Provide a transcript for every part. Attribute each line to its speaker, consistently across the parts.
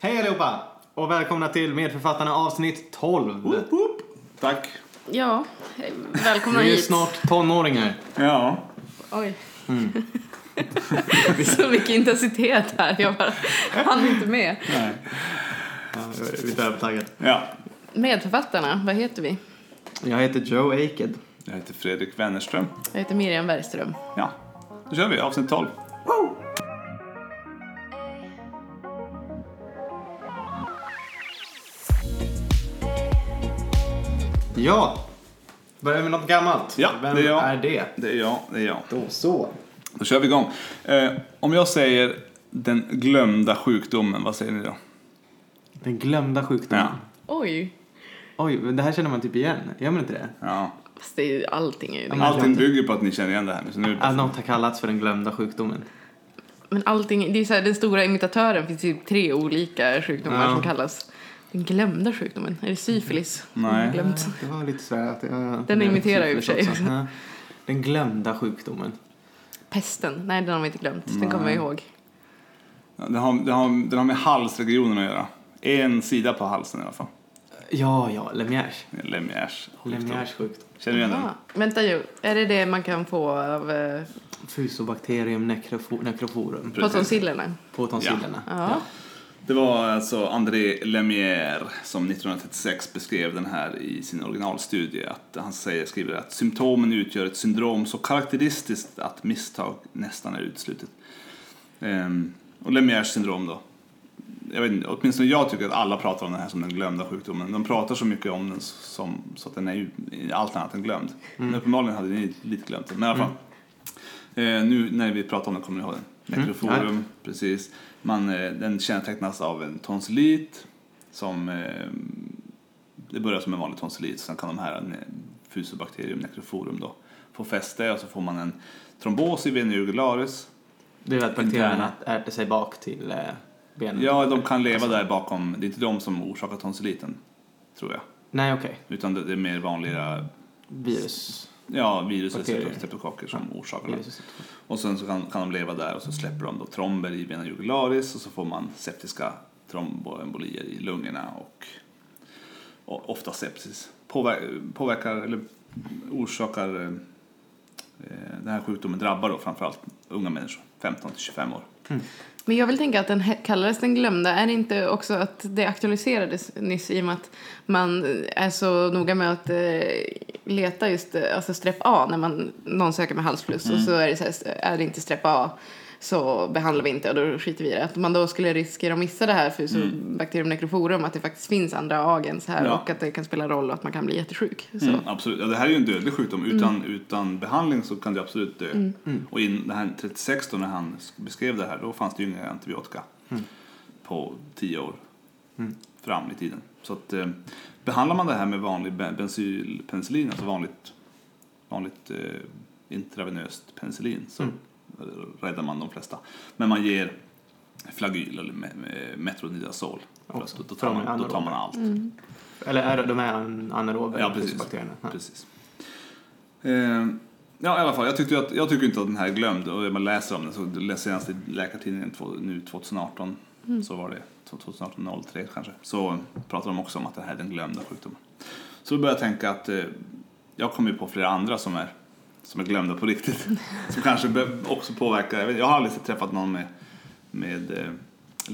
Speaker 1: Hej allihopa! Och välkomna till Medförfattarna avsnitt 12.
Speaker 2: Woop, woop. Tack.
Speaker 3: Ja, eh, välkomna
Speaker 1: Vi är
Speaker 3: hit.
Speaker 1: snart tonåringar.
Speaker 2: Ja.
Speaker 3: Oj. Så mycket intensitet här. Jag bara hann inte med.
Speaker 2: Nej.
Speaker 1: Ja, jag är lite övertaggad.
Speaker 2: Ja.
Speaker 3: Medförfattarna, vad heter vi?
Speaker 1: Jag heter Joe Aked.
Speaker 2: Jag heter Fredrik Wennerström.
Speaker 3: Jag heter Miriam Bergström.
Speaker 2: Ja. Då kör vi avsnitt 12.
Speaker 1: Ja! Börjar vi med något gammalt?
Speaker 2: Ja,
Speaker 1: Vem
Speaker 2: det är jag.
Speaker 1: är det?
Speaker 2: Det är jag, det är jag.
Speaker 1: Då så.
Speaker 2: Då kör vi igång. Eh, om jag säger den glömda sjukdomen, vad säger ni då?
Speaker 1: Den glömda sjukdomen.
Speaker 2: Ja.
Speaker 3: Oj.
Speaker 1: Oj, men det här känner man typ igen. Gör man inte det?
Speaker 2: ja.
Speaker 3: Fast det är ju allting är ju det.
Speaker 2: Allting bygger på att ni känner igen det här nu. Så nu
Speaker 1: Att något har kallats för den glömda sjukdomen.
Speaker 3: Men allting, det är så här, den stora imitatören finns ju tre olika sjukdomar
Speaker 1: Ja.
Speaker 3: som kallas. Den glömda sjukdomen, är det syfilis?
Speaker 2: Nej.
Speaker 3: Glömt.
Speaker 1: Det var lite sådär att jag...
Speaker 3: Den imiterar ju i och för sig.
Speaker 1: Också. Ja. Den glömda sjukdomen.
Speaker 3: Pesten, nej den har vi inte glömt. Den kommer jag ihåg.
Speaker 2: Ja, det, har, det, har, det har med halsregionen att göra. En sida på halsen i alla fall.
Speaker 1: Ja, ja, Lemierres.
Speaker 2: Lemmiers sjukdom.
Speaker 1: Lemierres sjukdom.
Speaker 2: Känner du igen den?
Speaker 3: Ah, vänta ju, är det det man kan få av eh,
Speaker 1: Fusobacterium necrofo- necroforum.
Speaker 2: Precis.
Speaker 3: på tonsillerna?
Speaker 1: På tonsillerna.
Speaker 3: Ja.
Speaker 2: Det var alltså André Lemierre som 1936 beskrev den här i sin originalstudie. Att han säger, skriver att symptomen utgör ett syndrom så karaktäristiskt att misstag nästan är uteslutet. Ehm, och Lemierres syndrom då. Jag vet inte, åtminstone jag tycker att alla pratar om den här som den glömda sjukdomen. De pratar så mycket om den som, så att den är ju allt annat än glömd. Men uppenbarligen hade ni lite glömt den. Men i alla fall. Eh, nu när vi pratar om den kommer ni ihåg den. Nekroforum,
Speaker 1: Mm.
Speaker 2: precis. Man, eh, den kännetecknas av en tonsillit som... Eh, det börjar som en vanlig tonsillit, sen kan de här ne- fusobacterium nekroforum då få fäste och så får man en trombos i vena jugularis.
Speaker 1: Det är att bakterierna
Speaker 2: Interna.
Speaker 1: ärter sig bak till eh, benen.
Speaker 2: Ja, de kan leva där bakom. Det är inte de som orsakar tonsilliten, tror jag.
Speaker 1: Nej, okej.
Speaker 2: Utan det det är mer vanliga
Speaker 1: Virus.
Speaker 2: ja, virus och
Speaker 1: Bakterier.
Speaker 2: streptokocker som orsakar det.
Speaker 1: Virus.
Speaker 2: Och sen så kan, kan de leva där och så släpper de då tromber i vena jugularis och så får man septiska tromboembolier i lungorna och, och ofta sepsis. Påver, påverkar eller orsakar eh, eh, den här sjukdomen drabbar då framförallt unga människor, 15 till 25 år.
Speaker 3: Men jag vill tänka att den he- kallades den glömda. Är det inte också att det aktualiserades nyss i och med att man är så noga med att eh, leta just eh, alltså strepp A när man, någon söker med halsfluss och
Speaker 2: Mm.
Speaker 3: så är det så här, är det inte strepp A så behandlar vi inte och då skiter vi i det. Att man då skulle riskera att missa det här fusobacterium necroforum, att det faktiskt finns andra agens här
Speaker 2: Mm. Ja.
Speaker 3: och att det kan spela roll och att man kan bli jättesjuk. Så.
Speaker 2: Mm, absolut. Ja, det här är ju en dödlig sjukdom. Utan, utan behandling så kan du absolut dö. Och in den här 36 då när han beskrev det här, då fanns det ju inga antibiotika på 10 år fram i tiden. Så att, eh, behandlar man det här med vanlig be- bensylpenicillin, alltså vanligt, vanligt eh, intravenöst penicillin, så räddar man de flesta. Men man ger flagyl eller me- me- metronidazol.
Speaker 1: Också.
Speaker 2: Då tar man, då tar man allt.
Speaker 1: Eller är det, de är an- anaeroba
Speaker 2: Ja, precis.
Speaker 1: bakterierna. Ja.
Speaker 2: Precis. Eh, ja, i alla fall. Jag, tyckte ju att, jag tycker inte att den här är glömd. Och man läser om den. Så läser senast i Läkartidningen två, nu 2018. Så var det. 2018 03 kanske. Så pratar de också om att det här är den glömda sjukdomen. Så då började jag tänka att eh, jag kommer ju på flera andra som är, som är glömda på riktigt. som kanske be- också påverkar. Jag, vet, jag har aldrig träffat någon med, med eh,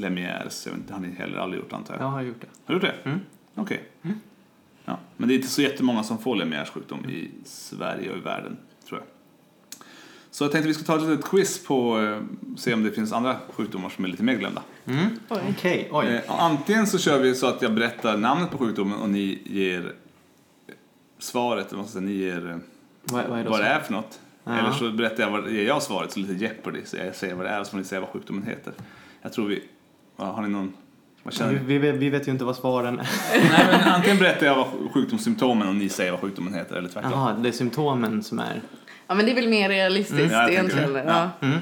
Speaker 2: Lemierres. Jag vet inte, han har ni heller aldrig gjort antar jag.
Speaker 1: Jag har gjort det.
Speaker 2: Har du gjort det?
Speaker 1: Mm.
Speaker 2: Okej. Ja. Men det är inte så jättemånga som får Lemierres sjukdom i Sverige och i världen, tror jag. Så jag tänkte vi ska ta ett litet quiz på eh, se om det finns andra sjukdomar som är lite mer glömda.
Speaker 1: Mm.
Speaker 3: Oj.
Speaker 1: Okej, oj.
Speaker 2: Eh, antingen så kör vi så att jag berättar namnet på sjukdomen och ni ger svaret, eller vad ska jag säga, ni ger eh,
Speaker 1: vad, vad är det
Speaker 2: vad det
Speaker 1: så?
Speaker 2: är för något.
Speaker 1: Ja.
Speaker 2: Eller så berättar jag, vad, ger jag svaret, så lite Jeopardy, så jag säger vad det är och så får ni säga vad sjukdomen heter. Jag tror vi, ja, har ni någon, vad känner ni?
Speaker 1: Vi, vi, vi vet ju inte vad svaren är.
Speaker 2: Nej, men antingen berättar jag vad sjukdomssymptomen och ni säger vad sjukdomen heter eller tvärtom.
Speaker 1: Jaha, det är symptomen som är...
Speaker 3: Ja men det är väl mer realistiskt
Speaker 2: Mm, ja, jag tänker
Speaker 3: egentligen.
Speaker 2: det.
Speaker 3: Ja.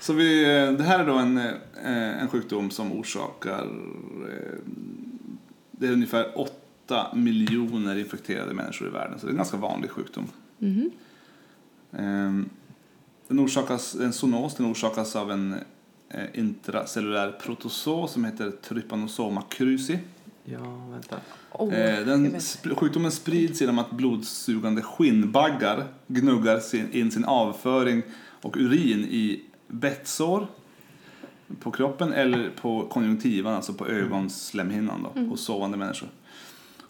Speaker 2: Så vi, eh, det här är då en, eh, en sjukdom som orsakar eh, det är ungefär 8 miljoner infekterade människor i världen så det är en ganska vanlig sjukdom.
Speaker 3: Mhm.
Speaker 2: Ehm, Eh, Den orsakas, en zoonos, den orsakas av en, eh, intracellulär protozoa som heter Trypanosoma cruzi.
Speaker 1: Ja, vänta.
Speaker 3: Oh,
Speaker 2: Eh,
Speaker 3: jag
Speaker 2: Den
Speaker 3: vet.
Speaker 2: sp- sjukdomen sprids genom att blodsugande skinnbaggar gnuggar sin, in sin avföring och urin i bettsår på kroppen eller på konjunktivan, alltså på
Speaker 3: Mm.
Speaker 2: ögonslemhinnan då, hos sovande människor.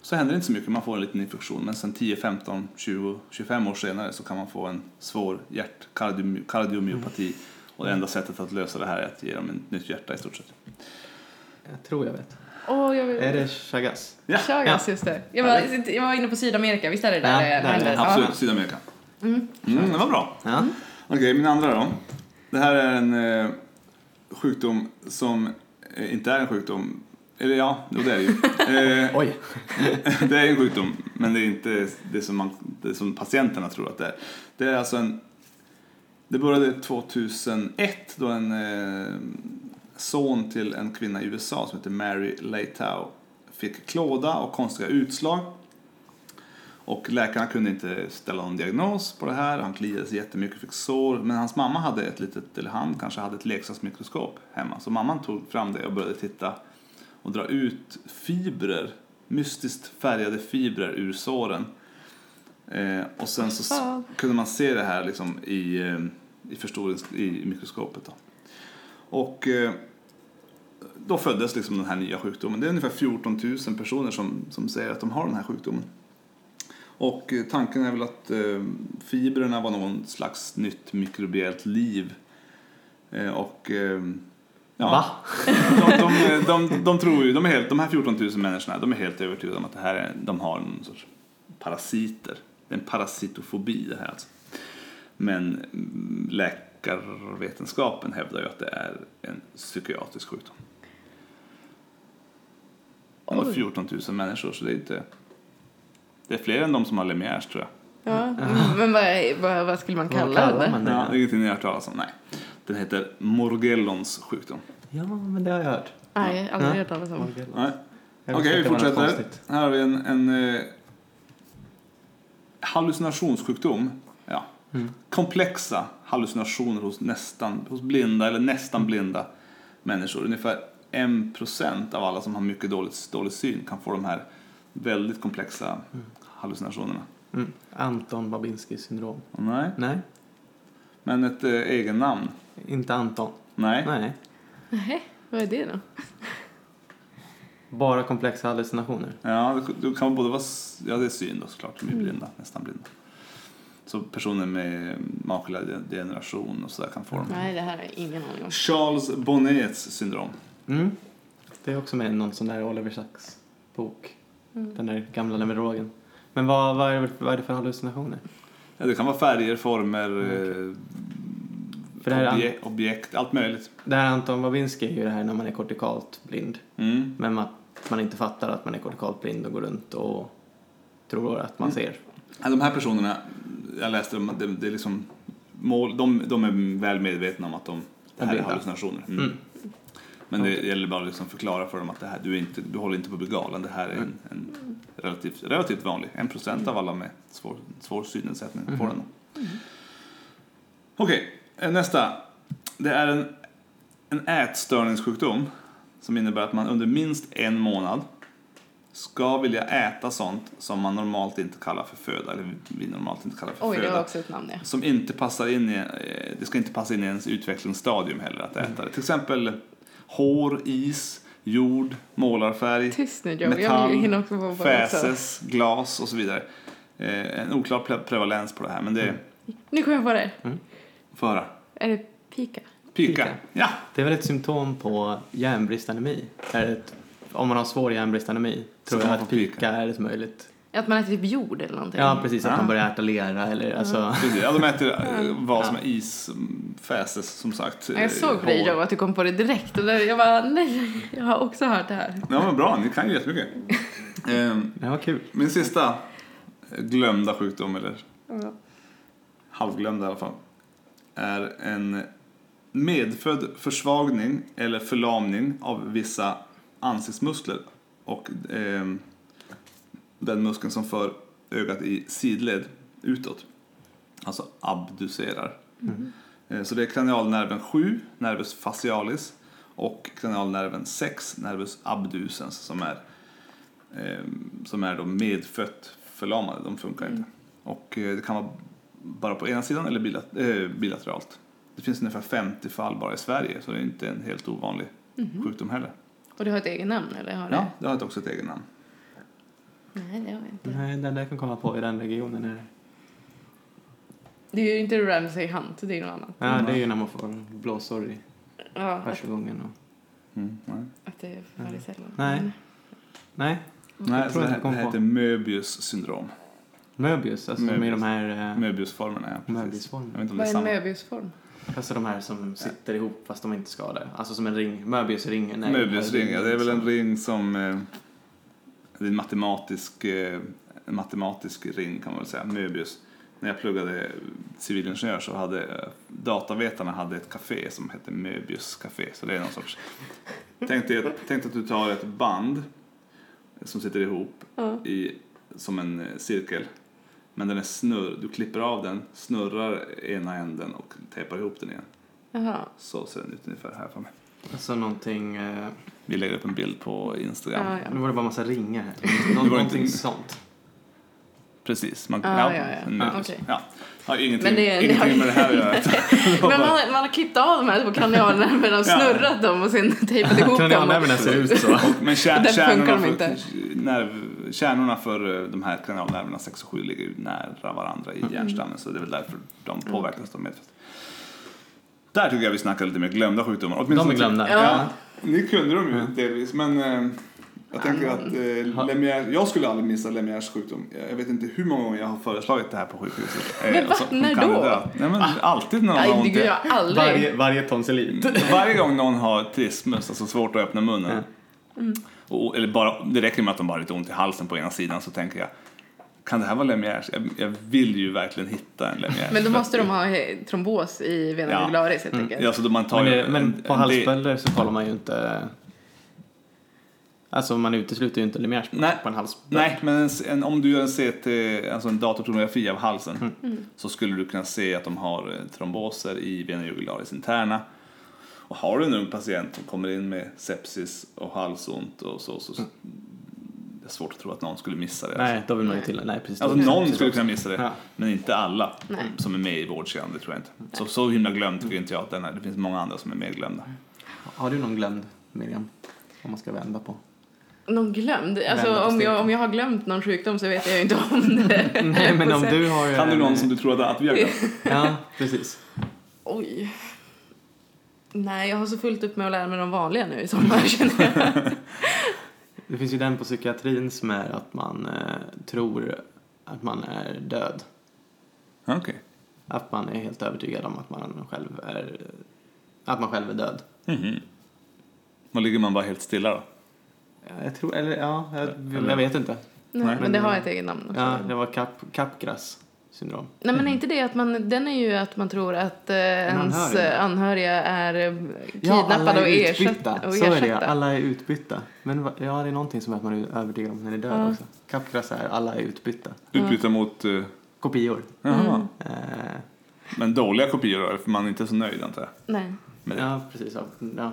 Speaker 2: Så händer det inte så mycket, man får en liten infektion. Men sen 10, 15, 20, 25 år senare så kan man få en svår hjärtkardiomyopati.
Speaker 3: Mm.
Speaker 2: Och det enda sättet att lösa det här är att ge dem ett nytt hjärta i stort sett.
Speaker 1: Jag tror jag vet.
Speaker 3: Åh, jag vet.
Speaker 1: Är det Chagas?
Speaker 2: Ja,
Speaker 3: Chagas, just det. Jag var, jag var inne på Sydamerika, visst är det där
Speaker 1: Ja,
Speaker 3: det
Speaker 1: där är det.
Speaker 3: händer? Ja.
Speaker 2: absolut, Sydamerika. Mm, det var bra.
Speaker 1: Ja.
Speaker 2: Okej, min andra då. Det här är en eh, sjukdom som eh, inte är en sjukdom. Eller ja, jo, det är det ju. Eh,
Speaker 1: Oj.
Speaker 2: det är en sjukdom, men det är inte det som, man, det som patienterna tror att det är. Det är alltså en... Det började 2001 då en eh, son till en kvinna i USA som heter Mary Leitao fick klåda och konstiga utslag. Och läkarna kunde inte ställa någon diagnos på det här. Han kliade sig jättemycket, fick sår. Men hans mamma hade ett litet, eller han kanske hade ett leksaksmikroskop hemma. Så mamman tog fram det och började titta och dra ut fibrer, mystiskt färgade fibrer ur såren. Eh, och sen så s-
Speaker 3: Fan.
Speaker 2: kunde man se det här liksom i, eh, i förstorings, i mikroskopet då. Och eh, då föddes liksom den här nya sjukdomen. Det är ungefär 14 000 personer som, som säger att de har den här sjukdomen. Och eh, tanken är väl att eh, fibrerna var någon slags nytt mikrobiellt liv. Eh, och eh, ja,
Speaker 1: Va?
Speaker 2: de, de, de, de tror ju, de, är helt, de här 14 000 människorna, de är helt övertygade om att det här är, de har någon sorts parasiter. Det är en parasitofobi det här alltså. Men mm, läkarvetenskapen hävdar ju att det är en psykiatrisk sjukdom. De har
Speaker 3: Oj.
Speaker 2: 14 000 människor så det är inte... Det är fler än de som har Lemier's tror jag.
Speaker 3: Ja. mm, Men vad, vad, vad skulle man
Speaker 1: Vad
Speaker 3: kalla
Speaker 1: kallar
Speaker 3: det?
Speaker 1: man
Speaker 2: Det
Speaker 1: det?
Speaker 2: är ingenting ni har hört talas om, nej. Den heter Morgellons sjukdom.
Speaker 1: Ja, men det har jag hört.
Speaker 3: Nej, aldrig hört talas om.
Speaker 2: Nej.
Speaker 1: Jag
Speaker 2: Okej,
Speaker 1: visste att
Speaker 2: vi
Speaker 1: det var något
Speaker 2: fortsätter.
Speaker 1: konstigt.
Speaker 2: Här har vi en, en eh, hallucinationssjukdom. Ja.
Speaker 1: Mm.
Speaker 2: Komplexa hallucinationer hos, nästan, hos blinda eller nästan blinda människor. Ungefär 1% av alla som har mycket dåligt, dålig syn kan få de här väldigt komplexa hallucinationerna.
Speaker 1: Mm. Anton Babinski syndrom.
Speaker 2: Nej.
Speaker 1: Nej,
Speaker 2: Men ett eh, egen namn?
Speaker 1: inte Anton.
Speaker 2: Nej.
Speaker 1: Nej.
Speaker 3: Nej, vad är det då?
Speaker 1: Bara komplexa hallucinationer.
Speaker 2: Ja, det- det kan både vara... s- Ja, det är syn då såklart. De är
Speaker 1: Mm.
Speaker 2: blinda, nästan blinda. Så personer med makuldegeneration och sådär kan få dem.
Speaker 3: Nej, det här är ingen aning om.
Speaker 2: Charles Bonnets syndrom.
Speaker 1: Mm. Det är också med i någon sån där Oliver Sacks bok.
Speaker 3: Mm.
Speaker 1: Den där gamla numerologen. Men vad, vad, är, det- vad är det för hallucinationer?
Speaker 2: Ja, det kan vara färger, former, eh,
Speaker 1: Mm, För det här, är An-
Speaker 2: obje- objekt, allt möjligt.
Speaker 1: det här Anton Babinski är ju det här när man är kortikalt blind.
Speaker 2: Mm.
Speaker 1: Men man, man inte fattar att man är kortikalt blind och går runt och tror att
Speaker 2: Mm.
Speaker 1: man ser.
Speaker 2: Ja, De här personerna, jag läste dem, det, det är liksom mål, de, de är väl medvetna om att de, det här är
Speaker 1: blinda.
Speaker 2: hallucinationer. Mm.
Speaker 1: Mm.
Speaker 2: Men det gäller bara att liksom förklara för dem att det här, du, är inte, du håller inte på att bli galen. Det här är en, en relativt, relativt vanlig. En procent av alla med svår, svår synnedsättning får
Speaker 3: Mhm.
Speaker 2: den. Okej, eh, nästa. Det är en, en ätstörningssjukdom som innebär att man under minst en månad ska vilja äta sånt som man normalt inte kallar för föda. Eller vi normalt inte kallar för
Speaker 3: Oj, det
Speaker 2: föda
Speaker 3: var också ett namn ja.
Speaker 2: som inte passar in i, eh, det ska inte passa in i ens utvecklingsstadium heller att äta det. Till exempel hår, is, jord, målarfärg,
Speaker 3: Tyst nu Joe, jag vill ju hinna
Speaker 2: metall,
Speaker 3: också på det också.
Speaker 2: fäses, glas och så vidare. Eh, En oklar pre- prevalens på det här, men det
Speaker 3: Mm.
Speaker 2: är
Speaker 3: Nu kommer jag på det.
Speaker 2: får höra.
Speaker 3: Är det pika?
Speaker 2: Pika.
Speaker 1: Pika.
Speaker 2: Ja,
Speaker 1: Det är väl ett symptom på järnbristanemi. Är det ett, om man har svår järnbristanemi tror
Speaker 2: kan
Speaker 1: jag
Speaker 2: man
Speaker 1: att
Speaker 2: få pika.
Speaker 1: pika är ett möjligt.
Speaker 3: Att man äter typ jord eller någonting?
Speaker 1: Ja, precis. Att
Speaker 2: Ja.
Speaker 1: man börjar äta lera eller alltså...
Speaker 2: precis. ja, de äter eh, vad som är is, mm, fäses som sagt.
Speaker 3: Ja, Jag
Speaker 2: eh,
Speaker 3: såg på dig
Speaker 2: hår.
Speaker 3: Joe att du kom på det direkt och där, jag bara nej, jag har också hört det här.
Speaker 2: Ja, men bra, ni kan ju jättemycket. Ehm,
Speaker 1: Det var kul.
Speaker 2: Min sista glömda sjukdom, eller
Speaker 3: Ja.
Speaker 2: halvglömda i alla fall, är en medfödd försvagning eller förlamning av vissa ansiktsmuskler och ehm, den muskeln som för
Speaker 1: Mm,
Speaker 2: ögat i sidled utåt, alltså abducerar. Eh, Så det är kranialnerven 7, nervus facialis, och kranialnerven 6, nervus abducens, som är, eh, som är då medfött förlamade. De funkar inte.
Speaker 3: Mm.
Speaker 2: Och eh, det kan vara bara på ena sidan eller bilat- eh, bilateralt. Det finns ungefär 50 fall bara i Sverige, så det är inte en helt ovanlig sjukdom heller.
Speaker 3: Mm. Och du har ett eget namn eller har
Speaker 2: Ja, det har också ett eget namn.
Speaker 3: det? Nej, det har jag inte.
Speaker 1: Nej, den där jag kan komma på i den regionen är
Speaker 3: Det är ju inte Ramsay Hunt, det är ju något annat.
Speaker 1: Ja,
Speaker 2: Mm.
Speaker 1: det är ju när man får blåsor i
Speaker 3: Ja, att,
Speaker 1: hörselgången. Och...
Speaker 2: Mm, nej.
Speaker 3: att det är väldigt sällan. Mm.
Speaker 1: Nej. Nej,
Speaker 2: Nej, så
Speaker 1: tror
Speaker 2: det,
Speaker 1: jag
Speaker 2: här,
Speaker 1: inte
Speaker 2: det
Speaker 1: kom
Speaker 2: här
Speaker 1: på.
Speaker 2: heter Möbius syndrom.
Speaker 1: Möbius, alltså med
Speaker 2: Möbius.
Speaker 1: de här eh,
Speaker 2: Möbiusformerna, ja. precis. Jag vet
Speaker 1: Möbiusformerna.
Speaker 2: inte om det
Speaker 3: Vad
Speaker 2: är
Speaker 3: är en
Speaker 2: samma.
Speaker 3: möbiusform?
Speaker 1: Alltså de här som sitter ihop fast de inte ska det. Alltså som en ring, Möbiusringen. nej, liksom-
Speaker 2: Möbiusring,
Speaker 1: den
Speaker 2: ja,
Speaker 1: här
Speaker 2: det är väl en
Speaker 1: ringen
Speaker 2: ring som... Eh, det är en matematisk, eh, en matematisk ring kan man väl säga, Möbius. När jag pluggade civilingenjör så hade eh, datavetarna hade ett café som hette Möbius café. Så det är någon sorts... tänk, dig, tänk dig att du tar ett band som sitter ihop
Speaker 3: Ja.
Speaker 2: i, som en eh, cirkel. Men den är snurr, du klipper av den, snurrar ena änden och tejpar ihop den igen.
Speaker 3: Jaha.
Speaker 2: Så ser den ut ungefär här för mig.
Speaker 1: som- Alltså någonting, eh,
Speaker 2: Vi lägger upp en bild på Instagram.
Speaker 3: Ja, ja.
Speaker 1: nu var det bara massa ringar här.
Speaker 2: Det
Speaker 1: Någon,
Speaker 2: var
Speaker 1: någonting
Speaker 2: inte-
Speaker 1: sånt.
Speaker 2: Precis. Man,
Speaker 3: Ah, ja, ja.
Speaker 2: en
Speaker 1: Ah,
Speaker 2: möbel.
Speaker 3: okej.
Speaker 2: ja. Har ingenting,
Speaker 3: Men det-
Speaker 2: ingenting
Speaker 3: det-
Speaker 2: med det här att göra.
Speaker 3: Men man, har- man har klippt av de här två kanalerna men har
Speaker 2: Ja.
Speaker 3: snurrat dem och sen tejpat ihop dem. och-
Speaker 1: Kranialnerverna ser ut så.
Speaker 2: Och- Men kär,
Speaker 3: Där
Speaker 2: kärnorna,
Speaker 3: funkar de
Speaker 2: för,
Speaker 3: inte.
Speaker 2: Nerv, kärnorna för eh, de här kranialnerverna 6 och 7 ligger ju nära varandra i
Speaker 3: Mm.
Speaker 2: hjärnstammen så det är väl därför de påverkas av medfött. Där tycker jag vi snackar lite mer glömda sjukdomar.
Speaker 1: De är
Speaker 2: Åtminstone-
Speaker 1: glömda.
Speaker 3: Ja.
Speaker 2: Ja, ni kunde dem ju delvis men eh, jag tänker att
Speaker 3: Mm.
Speaker 2: eh, Lemierre, jag skulle aldrig missa Lemierres sjukdom. Jag- Jag vet inte hur många gånger jag har föreslagit det här på sjukhuset. Eh,
Speaker 3: Men va?
Speaker 2: alltså, som
Speaker 3: När då?
Speaker 2: kandidat. Nej, men, alltid när någon har
Speaker 3: Nej, det
Speaker 2: ont
Speaker 3: gör
Speaker 2: i
Speaker 3: jag aldrig.
Speaker 1: Varje, varje tonsillit.
Speaker 2: varje gång någon har trismus, alltså svårt att öppna munnen.
Speaker 3: Mm.
Speaker 2: Och, eller bara, det räcker med att de bara har lite ont i halsen på ena sidan så tänker jag, kan det här vara Lemierres? Jag, jag vill ju verkligen hitta en Lemierres.
Speaker 3: Men då måste de ha eh, trombos i vena
Speaker 2: Ja. Mm,
Speaker 3: jugularis helt enkelt.
Speaker 2: Ja, så då man tar
Speaker 1: Men,
Speaker 2: ju
Speaker 1: det, men
Speaker 2: en-
Speaker 1: på
Speaker 2: en del-
Speaker 1: halsböller så kollar man ju inte... Alltså man utesluter ju inte Lemierre
Speaker 2: Nej.
Speaker 1: på en halsböld.
Speaker 2: Nej, men en, en, om du gör en CT, alltså en datortomografi av halsen
Speaker 1: Mm.
Speaker 3: Mm.
Speaker 2: så skulle du kunna se att de har eh, tromboser i vena jugularis interna. Och har du en ung patient som kommer in med sepsis och halsont och så, så, så det är svårt att tro att någon skulle missa det.
Speaker 1: Mm. Nej, då vill man ju till... Nej, precis.
Speaker 2: Alltså
Speaker 1: Då-
Speaker 2: någon
Speaker 1: precis.
Speaker 2: skulle kunna missa det,
Speaker 1: Ja.
Speaker 2: men inte alla
Speaker 3: Nej.
Speaker 2: som är med i vårdkedjan, det tror jag inte. Så, så himla glömd tycker inte jag att den är. Det finns många andra som är mer glömda.
Speaker 1: Mm. Har du någon glömd, Miriam? Om man ska vända på.
Speaker 3: Någon glömd?
Speaker 1: Vända
Speaker 3: Alltså
Speaker 1: på
Speaker 3: om jag,
Speaker 1: steken.
Speaker 3: om jag har glömt någon sjukdom så vet jag ju inte om det.
Speaker 1: Nej, men om du har...
Speaker 2: Kan du någon som du tror att att vi har glömt?
Speaker 1: Ja, precis.
Speaker 3: Oj. Nej, jag har så fullt upp med att lära mig de vanliga nu i sommar känner jag.
Speaker 1: Det finns ju den på psykiatrin som är att man eh, tror att man är död.
Speaker 2: Okej.
Speaker 1: Att man är helt övertygad om att man själv är... Att man själv är död.
Speaker 2: Mhm. Och ligger man bara helt stilla då?
Speaker 1: Ja, Jag tror... Eller ja, jag, jag vet inte.
Speaker 3: Nej,
Speaker 2: Nej.
Speaker 3: men det har ett eget namn också.
Speaker 1: Ja, det var kap, Capgras syndrom.
Speaker 3: Nej men är inte det att man, den är ju att man tror att eh, ens
Speaker 1: anhörig.
Speaker 3: eh, anhöriga är eh,
Speaker 1: Ja,
Speaker 3: kidnappade
Speaker 1: alla är
Speaker 3: och, ersatt,
Speaker 1: utbytta.
Speaker 3: och
Speaker 1: Så är det ja.
Speaker 3: ersatta.
Speaker 1: Alla är utbytta. Men va- ja, det är någonting som är att man är övertygad om när det är död
Speaker 3: Ja.
Speaker 1: också. Capgras är alla är utbytta.
Speaker 2: Utbyta mot... eh,
Speaker 1: Kopior.
Speaker 2: Jaha.
Speaker 1: Eh,
Speaker 2: Men dåliga kopior då, för man är inte så nöjd antar jag.
Speaker 3: Nej.
Speaker 2: Men-
Speaker 1: ja, precis. Ja. Ja.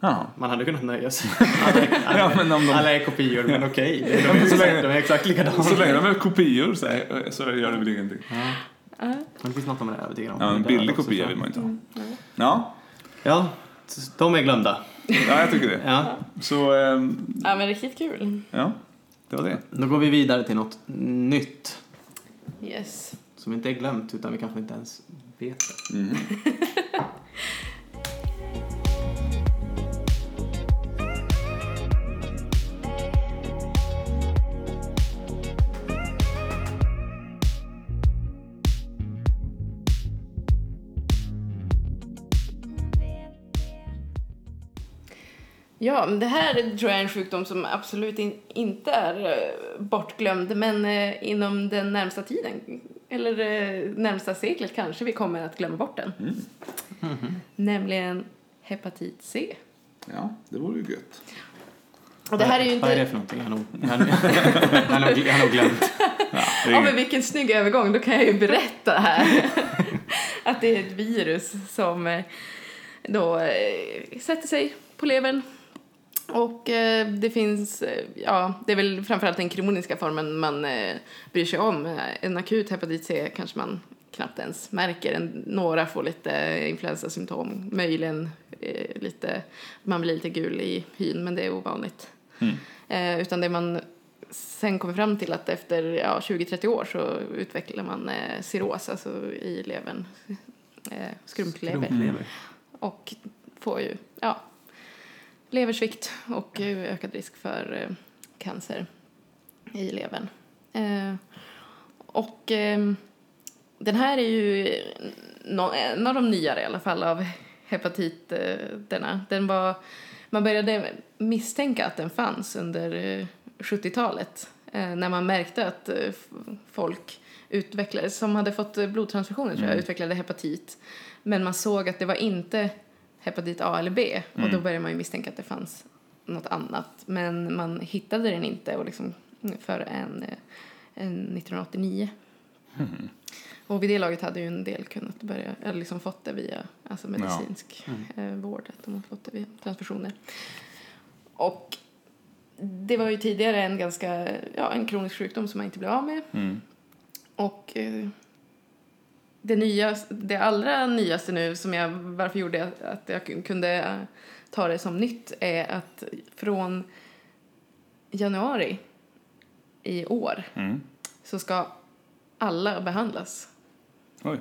Speaker 2: Jaha.
Speaker 1: Man hade kunnat nöja sig. Alla, alla,
Speaker 2: Ja, men om de-
Speaker 1: alla är kopior, men okej. De,
Speaker 2: Ja, men så länge-
Speaker 1: är- de är exakt likadana.
Speaker 2: Så länge de är kopior så, är, så gör det väl ingenting.
Speaker 1: Ja.
Speaker 3: Ja.
Speaker 1: Men det finns något om man är övertygad om.
Speaker 2: Ja,
Speaker 1: när
Speaker 2: en
Speaker 1: det är död
Speaker 2: billig
Speaker 1: också,
Speaker 2: kopia
Speaker 1: så-
Speaker 2: vill man ju inte ha. Mm, Ja,
Speaker 1: Ja, s- de är glömda.
Speaker 2: ja jag tycker det.
Speaker 1: Ja.
Speaker 2: Så, ehm,
Speaker 3: ja men riktigt kul.
Speaker 2: ja. Det var det.
Speaker 1: Då går vi vidare till något nytt.
Speaker 3: Yes.
Speaker 1: Som inte är glömt, utan vi kanske inte ens vet det.
Speaker 2: Mhm.
Speaker 3: Ja, men det här tror jag är en sjukdom som absolut in, inte är eh, bortglömd men eh, inom den närmsta tiden, eller eh, närmsta seklet kanske vi kommer att glömma bort den.
Speaker 2: Mm.
Speaker 3: Nämligen hepatit C.
Speaker 2: Ja, det vore ju gött.
Speaker 3: Och det här är ju
Speaker 1: Vad är det
Speaker 3: inte...
Speaker 1: för någonting? Jag har nog, jag har nog, jag har nog, jag har nog glömt.
Speaker 2: Ja, det är
Speaker 1: typ?
Speaker 3: Ja,
Speaker 2: inget-
Speaker 3: men vilken snygg övergång, då kan jag ju berätta här. att det är ett virus som eh, då eh, sätter sig på levern. Och eh, det finns, eh, ja, det är väl framförallt den kroniska formen man eh, bryr sig om. Eh, En akut hepatit C kanske man knappt ens märker. En, några får lite influensasymptom, möjligen eh, lite, man blir lite gul i hyn, men det är ovanligt. Eh, utan det man sen kommer fram till att efter ja, 20-30 år så utvecklar man eh, cirros, alltså i levern, eh, skrumplever
Speaker 1: Skrumplever.
Speaker 3: och får ju ja, leversvikt och eh, ökad risk för eh, cancer i levern. Eh, och eh, den här är ju nå- en av de nyare i alla fall av hepatiterna. Den var, man började misstänka att den fanns under eh, 70-talet eh, när man märkte att eh, f- folk utvecklade, som hade fått eh, blodtransfusioner tror jag, utvecklade hepatit. Men man såg att det var inte hepatit A eller B och då började man ju misstänka att det fanns något annat. Men man hittade den inte och liksom för en, eh, en 1989. Och vid det laget hade ju en del kunnat börja, eller liksom fått det via alltså medicinsk eh, vård, att de har fått det via transfusioner. Och det var ju tidigare en ganska, ja, en kronisk sjukdom som man inte blev av med.
Speaker 2: Mm.
Speaker 3: Och eh, det, nya, det allra nyaste nu, som jag, varför gjorde jag att jag kunde eh, ta det som nytt, är att från januari i år
Speaker 2: Mm.
Speaker 3: så ska alla behandlas
Speaker 2: Oj.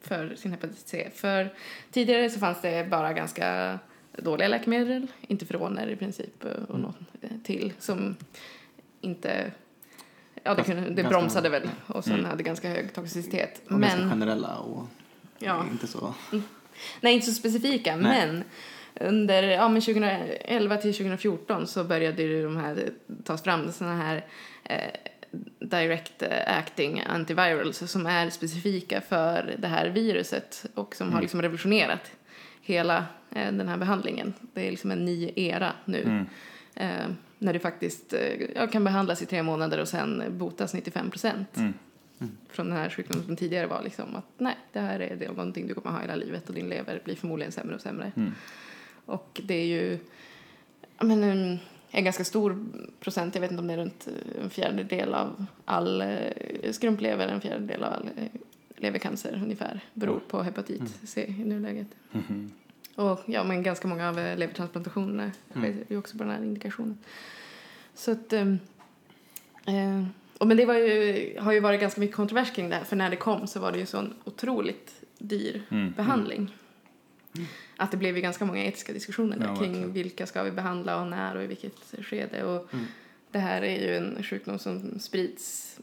Speaker 3: för sin hepatit C. För tidigare så fanns det bara ganska dåliga läkemedel, interferoner i princip eh,
Speaker 1: Mm.
Speaker 3: och något till som inte... Ja, det,
Speaker 1: Ganska-
Speaker 3: kunde, det
Speaker 1: ganska- Mm.
Speaker 3: bromsade väl och sen hade ganska hög toxicitet.
Speaker 1: Och ganska
Speaker 3: Men,
Speaker 1: generella och
Speaker 3: ja,
Speaker 1: inte så...
Speaker 3: nej inte så specifika, men under ja, men 2011 till 2014 så började ju de här tas fram såna här eh, direct acting antivirals som är specifika för det här viruset och som har liksom revolutionerat hela eh, den här behandlingen. Det är liksom en ny era
Speaker 2: Mm.
Speaker 3: nu. Eh, när du faktiskt eh, ja, kan behandlas i tre månader och sen botas 95 procent från den här sjukdomen som tidigare var liksom att nej, det här är det någonting du kommer ha hela livet och din lever blir förmodligen sämre och sämre. Och det är ju ja, men, en, en ganska stor procent, jag vet inte om det är runt eh, en fjärdedel av all eh, skrumplever, en fjärdedel av all eh, levercancer ungefär, beror på hepatit C i nuläget. Och ja, men ganska många av eh, levertransplantationerna sker ju också på den här indikationen. Så att, ehm, eh, och men det var ju, har ju varit ganska mycket kontrovers kring det här, för när det kom så var det ju sån otroligt dyr
Speaker 2: mm.
Speaker 3: behandling. Att det blev ju ganska många etiska diskussioner där
Speaker 2: Ja,
Speaker 3: kring
Speaker 2: verkligen. Mm.
Speaker 3: vilka ska vi behandla och när och i vilket skede. Och Det här är ju en sjukdom som sprids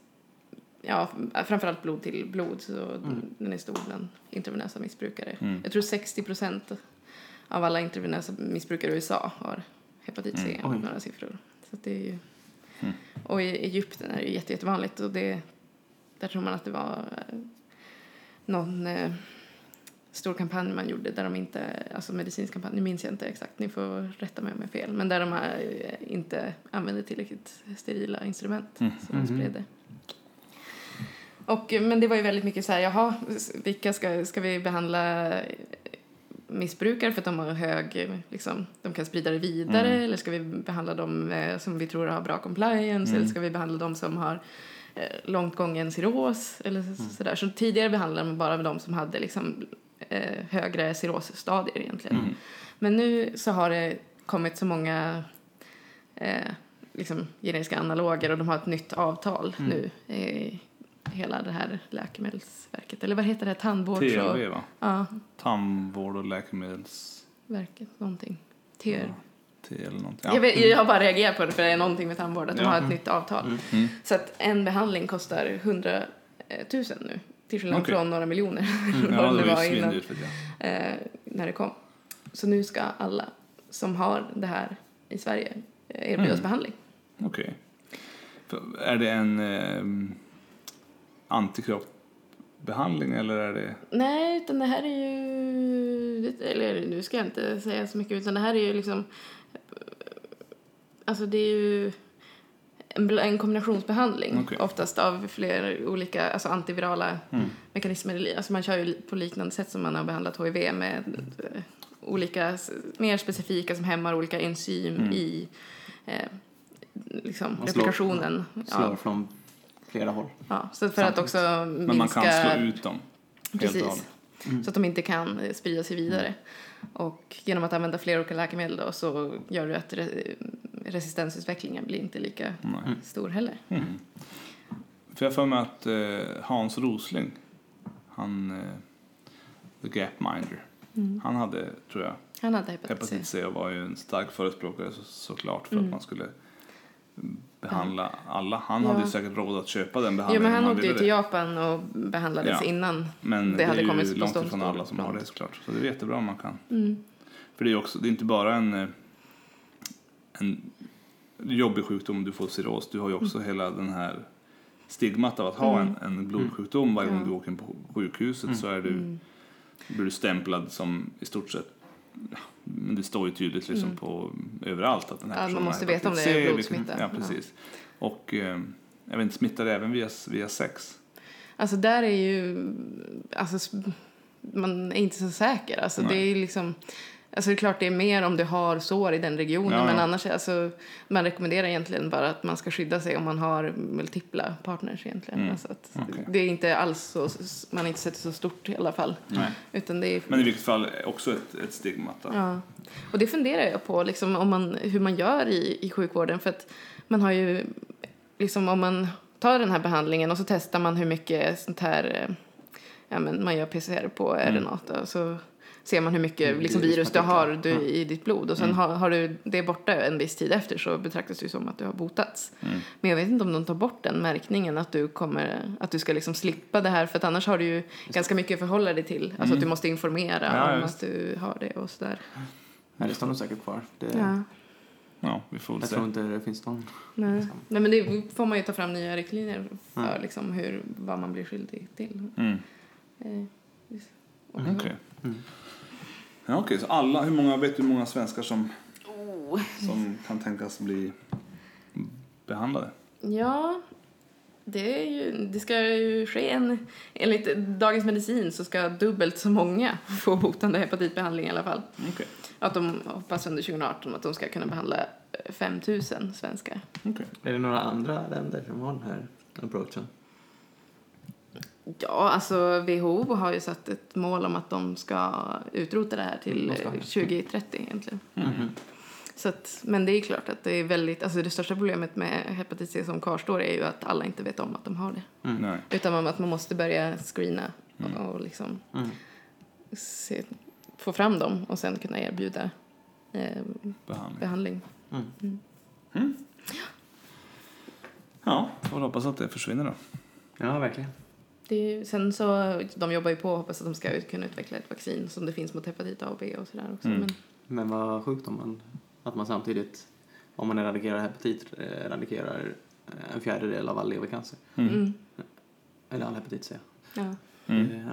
Speaker 3: ja, framförallt blod till blod, så
Speaker 2: Mm.
Speaker 3: den är stor bland intravenösa missbrukare. Jag tror 60 procent av alla intravenösa missbrukare i USA har hepatit C,
Speaker 2: Mm.
Speaker 1: Oj.
Speaker 3: några siffror. Så att det är ju... Och i Egypten är det ju jätte, jättevanligt och det, där tror man att det var eh, någon eh, stor kampanj man gjorde där de inte, alltså medicinsk kampanj, nu minns jag inte exakt, ni får rätta mig om jag har fel, men där de eh, inte använde tillräckligt sterila instrument som de spred det. Och, eh, men det var ju väldigt mycket så här, jaha, s- vilka ska, ska vi behandla eh, missbrukare för att de har hög, eh, liksom, de kan sprida det vidare eller ska vi behandla dem eh, som vi tror har bra compliance eller ska vi behandla dem som har eh, långt gången cirros eller så, sådär. Så tidigare behandlade man bara de som hade liksom, eh, högre cirrosstadier egentligen. Men nu så har det kommit så många eh, liksom, generiska analoger och de har ett nytt avtal nu. Eh, hela det här läkemedelsverket, eller vad heter det, tandvårds och...
Speaker 2: TLV va?
Speaker 3: Ja,
Speaker 2: Tandvård och läkemedels...
Speaker 3: verket, någonting. TR.
Speaker 2: T eller någonting.
Speaker 3: Jag, vet, jag har bara reagerat på det för det är någonting med tandvård, att de
Speaker 2: Mm. Ja. Mm.
Speaker 3: har ett nytt avtal. Så att en behandling kostar 100 000 nu, till skillnad
Speaker 2: Okej. Mm,
Speaker 3: från några miljoner.
Speaker 2: Ja,
Speaker 3: vad
Speaker 2: det
Speaker 3: det
Speaker 2: var
Speaker 3: var
Speaker 2: ju
Speaker 3: innan.
Speaker 2: svindyrt vet jag.
Speaker 3: eh, när det kom. Så nu ska alla som har det här i Sverige eh, erbjudas
Speaker 2: Mm.
Speaker 3: behandling.
Speaker 2: Okej. För- Är det en eh, antikroppbehandling eller är det...
Speaker 3: Nej, utan det här är ju... Eller nu ska jag inte säga så mycket, utan det här är ju liksom... Alltså det är ju en, bl- en kombinationsbehandling
Speaker 2: Okej.
Speaker 3: oftast av flera olika alltså antivirala mekanismer. i li- Alltså man kör ju li- på liknande sätt som man har behandlat HIV med eh, olika s- mer specifika som hämmar olika enzym
Speaker 2: Mm.
Speaker 3: i eh, liksom
Speaker 1: Man slår-
Speaker 3: replikationen.
Speaker 1: Slår
Speaker 3: Ja,
Speaker 1: från flera håll.
Speaker 3: ja. Så för att också minska
Speaker 2: Men man kan slå ut dem. helt och
Speaker 3: Precis.
Speaker 2: hållet. Mm.
Speaker 3: Så att de inte kan eh, sprida sig vidare. Och genom att använda flera olika läkemedel då, så gör du att re- resistensutvecklingen blir inte lika
Speaker 2: Nej.
Speaker 3: stor heller.
Speaker 2: Mm. För jag har för mig att eh, Hans Rosling, han, eh, the gapminder, han hade, tror jag,
Speaker 3: Han hade hepatit C.
Speaker 2: hepatit C och var ju en stark förespråkare så, såklart
Speaker 3: Mm.
Speaker 2: för att man skulle behandla alla. Han
Speaker 3: Ja.
Speaker 2: hade ju säkert råd att köpa den
Speaker 3: Jo,
Speaker 2: behandlingen
Speaker 3: men
Speaker 2: om
Speaker 3: han åkte
Speaker 2: ville
Speaker 3: ju
Speaker 2: det.
Speaker 3: till Japan och behandlades
Speaker 2: Ja.
Speaker 3: innan.
Speaker 2: Men
Speaker 3: Det
Speaker 2: det,
Speaker 3: hade
Speaker 2: är
Speaker 3: kommit
Speaker 2: ju
Speaker 3: på
Speaker 2: långt ifrån
Speaker 3: ståndspår
Speaker 2: alla som har
Speaker 3: ibland.
Speaker 2: det såklart. Så det är jättebra om man kan.
Speaker 3: Mm.
Speaker 2: För det är ju också, det är inte bara en, eh, en jobbig sjukdom du får cirros. Du har ju
Speaker 3: Mm.
Speaker 2: också hela den här stigmat av att ha en, en blodsjukdom. Varje gång
Speaker 3: Mm. Ja. Mm.
Speaker 2: du åker in på sjukhuset så är du, blir du stämplad som i stort sett ja, men det står ju tydligt liksom på överallt att den här
Speaker 3: Mm. Ja, man
Speaker 2: personen har
Speaker 3: måste veta om
Speaker 2: hepatit
Speaker 3: det är
Speaker 2: C,
Speaker 3: blodsmitta.
Speaker 2: Vilken, liksom. ja, precis. Och eh, jag vet inte, smittar det även via, via sex?
Speaker 3: Alltså där är ju... Alltså, s- man är inte så säker. Alltså, det
Speaker 2: Nej.
Speaker 3: är ju liksom... Alltså det är klart det är mer om du har sår i den regionen
Speaker 2: Ja,
Speaker 3: men
Speaker 2: ja.
Speaker 3: annars är- alltså, man rekommenderar egentligen bara att man ska skydda sig om man har multipla partners egentligen.
Speaker 2: Mm.
Speaker 3: Alltså att
Speaker 2: Okej.
Speaker 3: Det är inte alls så, man har inte sett det så stort i alla fall.
Speaker 2: Nej.
Speaker 3: Utan det är,
Speaker 2: Men i vilket fall också ett, ett stigmat. att-
Speaker 3: Ja. Och det funderar jag på, liksom, om man, hur man gör i, i sjukvården. För att man har ju, liksom, om man tar den här behandlingen och så testar man hur mycket sånt här, eh, ja men man gör PCR på
Speaker 2: Mm.
Speaker 3: RNA då, så ser man hur mycket
Speaker 1: Mm,
Speaker 3: liksom, virus du
Speaker 1: viruspartiklar.
Speaker 3: har du, i ditt blod och sen
Speaker 2: Mm.
Speaker 3: har, har du det borta en viss tid efter så betraktas det ju som att du har botats.
Speaker 2: Mm.
Speaker 3: Men jag vet inte om de tar bort den märkningen att du, kommer, att du ska liksom slippa det här för att annars har du ju ganska mycket att förhålla dig till. Alltså att du måste informera
Speaker 2: Mm. Ja,
Speaker 3: om
Speaker 2: just
Speaker 3: att du har det och sådär.
Speaker 1: Nej, det står nog säkert kvar. Det,
Speaker 3: Ja,
Speaker 2: Ja, vi får väl
Speaker 1: Jag
Speaker 2: se.
Speaker 1: tror inte det finns någon.
Speaker 3: nej. Liksom. nej men det får man ju ta fram nya riktlinjer för
Speaker 1: Mm.
Speaker 3: liksom hur, vad man blir skyldig till.
Speaker 2: Mm.
Speaker 3: Eh, just. Och-
Speaker 2: Okej. Mm. Ja, okej, så alla, hur många, vet du hur många svenskar som,
Speaker 3: Oh.
Speaker 2: som kan tänkas bli behandlade?
Speaker 3: Ja, det, är ju, det ska ju ske en... Enligt Dagens Medicin så ska dubbelt så många få botande hepatitbehandling i alla fall.
Speaker 2: Okej.
Speaker 3: Att de hoppas under 2018 att de ska kunna behandla 5 000 svenskar.
Speaker 2: okej.
Speaker 1: Är det några andra länder som har den här approachen?
Speaker 3: Ja, alltså WHO har ju satt ett mål om att de ska utrota det här till
Speaker 1: Måste ha
Speaker 3: eh,
Speaker 1: det.
Speaker 3: 2030 egentligen.
Speaker 1: Mhm.
Speaker 3: Så att, men det är klart att det är väldigt, alltså det största problemet med hepatit C som kvarstår är ju att alla inte vet om att de har det.
Speaker 2: Nej.
Speaker 3: Utan man, att man måste börja screena och, och liksom
Speaker 1: Mm.
Speaker 3: se, få fram dem och sen kunna erbjuda eh,
Speaker 2: Behandling.
Speaker 3: behandling.
Speaker 1: Mm.
Speaker 2: Ja, får hoppas att det försvinner då.
Speaker 1: Ja, verkligen.
Speaker 3: Det är, ju- sen så, de jobbar ju på och hoppas att de ska ut, kunna utveckla ett vaccin som det finns mot hepatit A och B och sådär också.
Speaker 2: Mm.
Speaker 3: Men,
Speaker 1: Men vad sjukt om man, att man samtidigt, om man eradikerar hepatit, eh, eradikerar eh, en fjärdedel av all levercancer.
Speaker 3: mm,
Speaker 1: Eller all hepatit C.
Speaker 3: ja.
Speaker 2: Mm.
Speaker 1: Eh,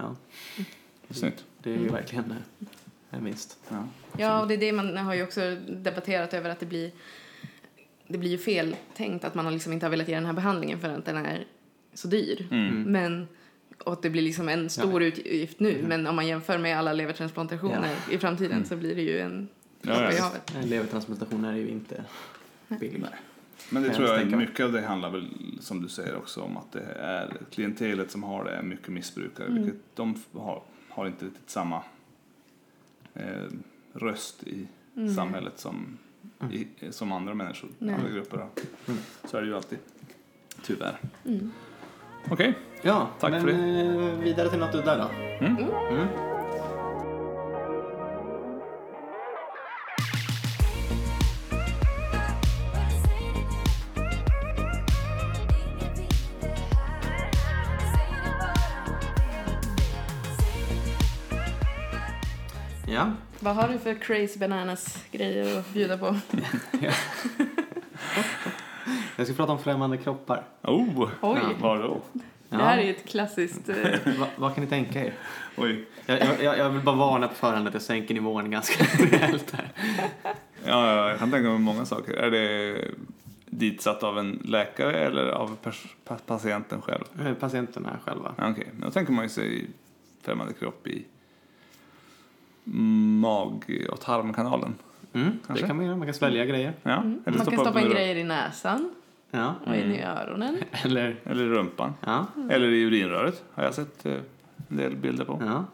Speaker 1: Ja,
Speaker 2: Snyggt.
Speaker 1: det är ju
Speaker 3: Mm.
Speaker 1: verkligen eh, en vinst.
Speaker 2: Ja.
Speaker 3: Ja, och det är det man har ju också debatterat över att det blir det blir ju feltänkt att man har liksom inte har velat ge den här behandlingen för att den är så dyr.
Speaker 2: Mm.
Speaker 3: Men, och att det blir liksom en stor utgift nu, men om man jämför med alla levertransplantationer i framtiden så blir det ju en
Speaker 2: Ja,
Speaker 3: droppe i
Speaker 2: ja.
Speaker 3: havet.
Speaker 1: Eh, Levertransplantationer är ju inte billigt.
Speaker 2: Men det
Speaker 1: Kan
Speaker 2: tror
Speaker 1: jag
Speaker 2: jag,
Speaker 1: tänka mig.
Speaker 2: mycket av det handlar väl som du säger också om att det är klientelet som har det är mycket missbrukare. Vilket de f- har, har inte riktigt samma eh, röst i
Speaker 3: Mm.
Speaker 2: samhället som, i, som andra människor,
Speaker 3: Nej.
Speaker 2: andra grupper har.
Speaker 1: Mm.
Speaker 2: Så är det ju alltid, tyvärr.
Speaker 3: Mm.
Speaker 2: Okej,
Speaker 1: Ja,
Speaker 2: Tack
Speaker 1: men
Speaker 2: för det.
Speaker 1: eh, vidare till något udda då.
Speaker 2: Mm.
Speaker 1: Mm. Ja,
Speaker 3: Vad har du för crazy bananas grejer att bjuda på?
Speaker 1: jag ska prata om främmande kroppar.
Speaker 2: oh,
Speaker 3: Oj.
Speaker 2: var då?
Speaker 1: Ja.
Speaker 3: Det här är ju ett klassiskt... Eh,
Speaker 1: Va, vad kan ni tänka er?
Speaker 2: Oj,
Speaker 1: Jag, jag, jag- jag vill bara varna på förhand att jag sänker nivån ganska rejält här.
Speaker 2: ja, ja, jag kan tänka mig många saker. Är det ditsatt av en läkare eller av pers- pa- patienten själv?
Speaker 1: Eh, Patienterna själva.
Speaker 2: Ja, Okej, men då tänker man ju sig främmande kropp i mag och tarmkanalen.
Speaker 1: Mm, det
Speaker 2: Kanske.
Speaker 1: kan man göra. Man kan svälja grejer.
Speaker 2: Ja,
Speaker 3: Mm. Man kan
Speaker 2: upp
Speaker 3: stoppa
Speaker 2: den
Speaker 3: in
Speaker 2: i
Speaker 3: grejer i näsan
Speaker 1: Ja,
Speaker 3: och in i öronen.
Speaker 1: eller...
Speaker 2: rump- Eller i rumpan.
Speaker 1: Ja,
Speaker 2: Eller i urinröret har jag sett eh, en del bilder på.
Speaker 1: ja.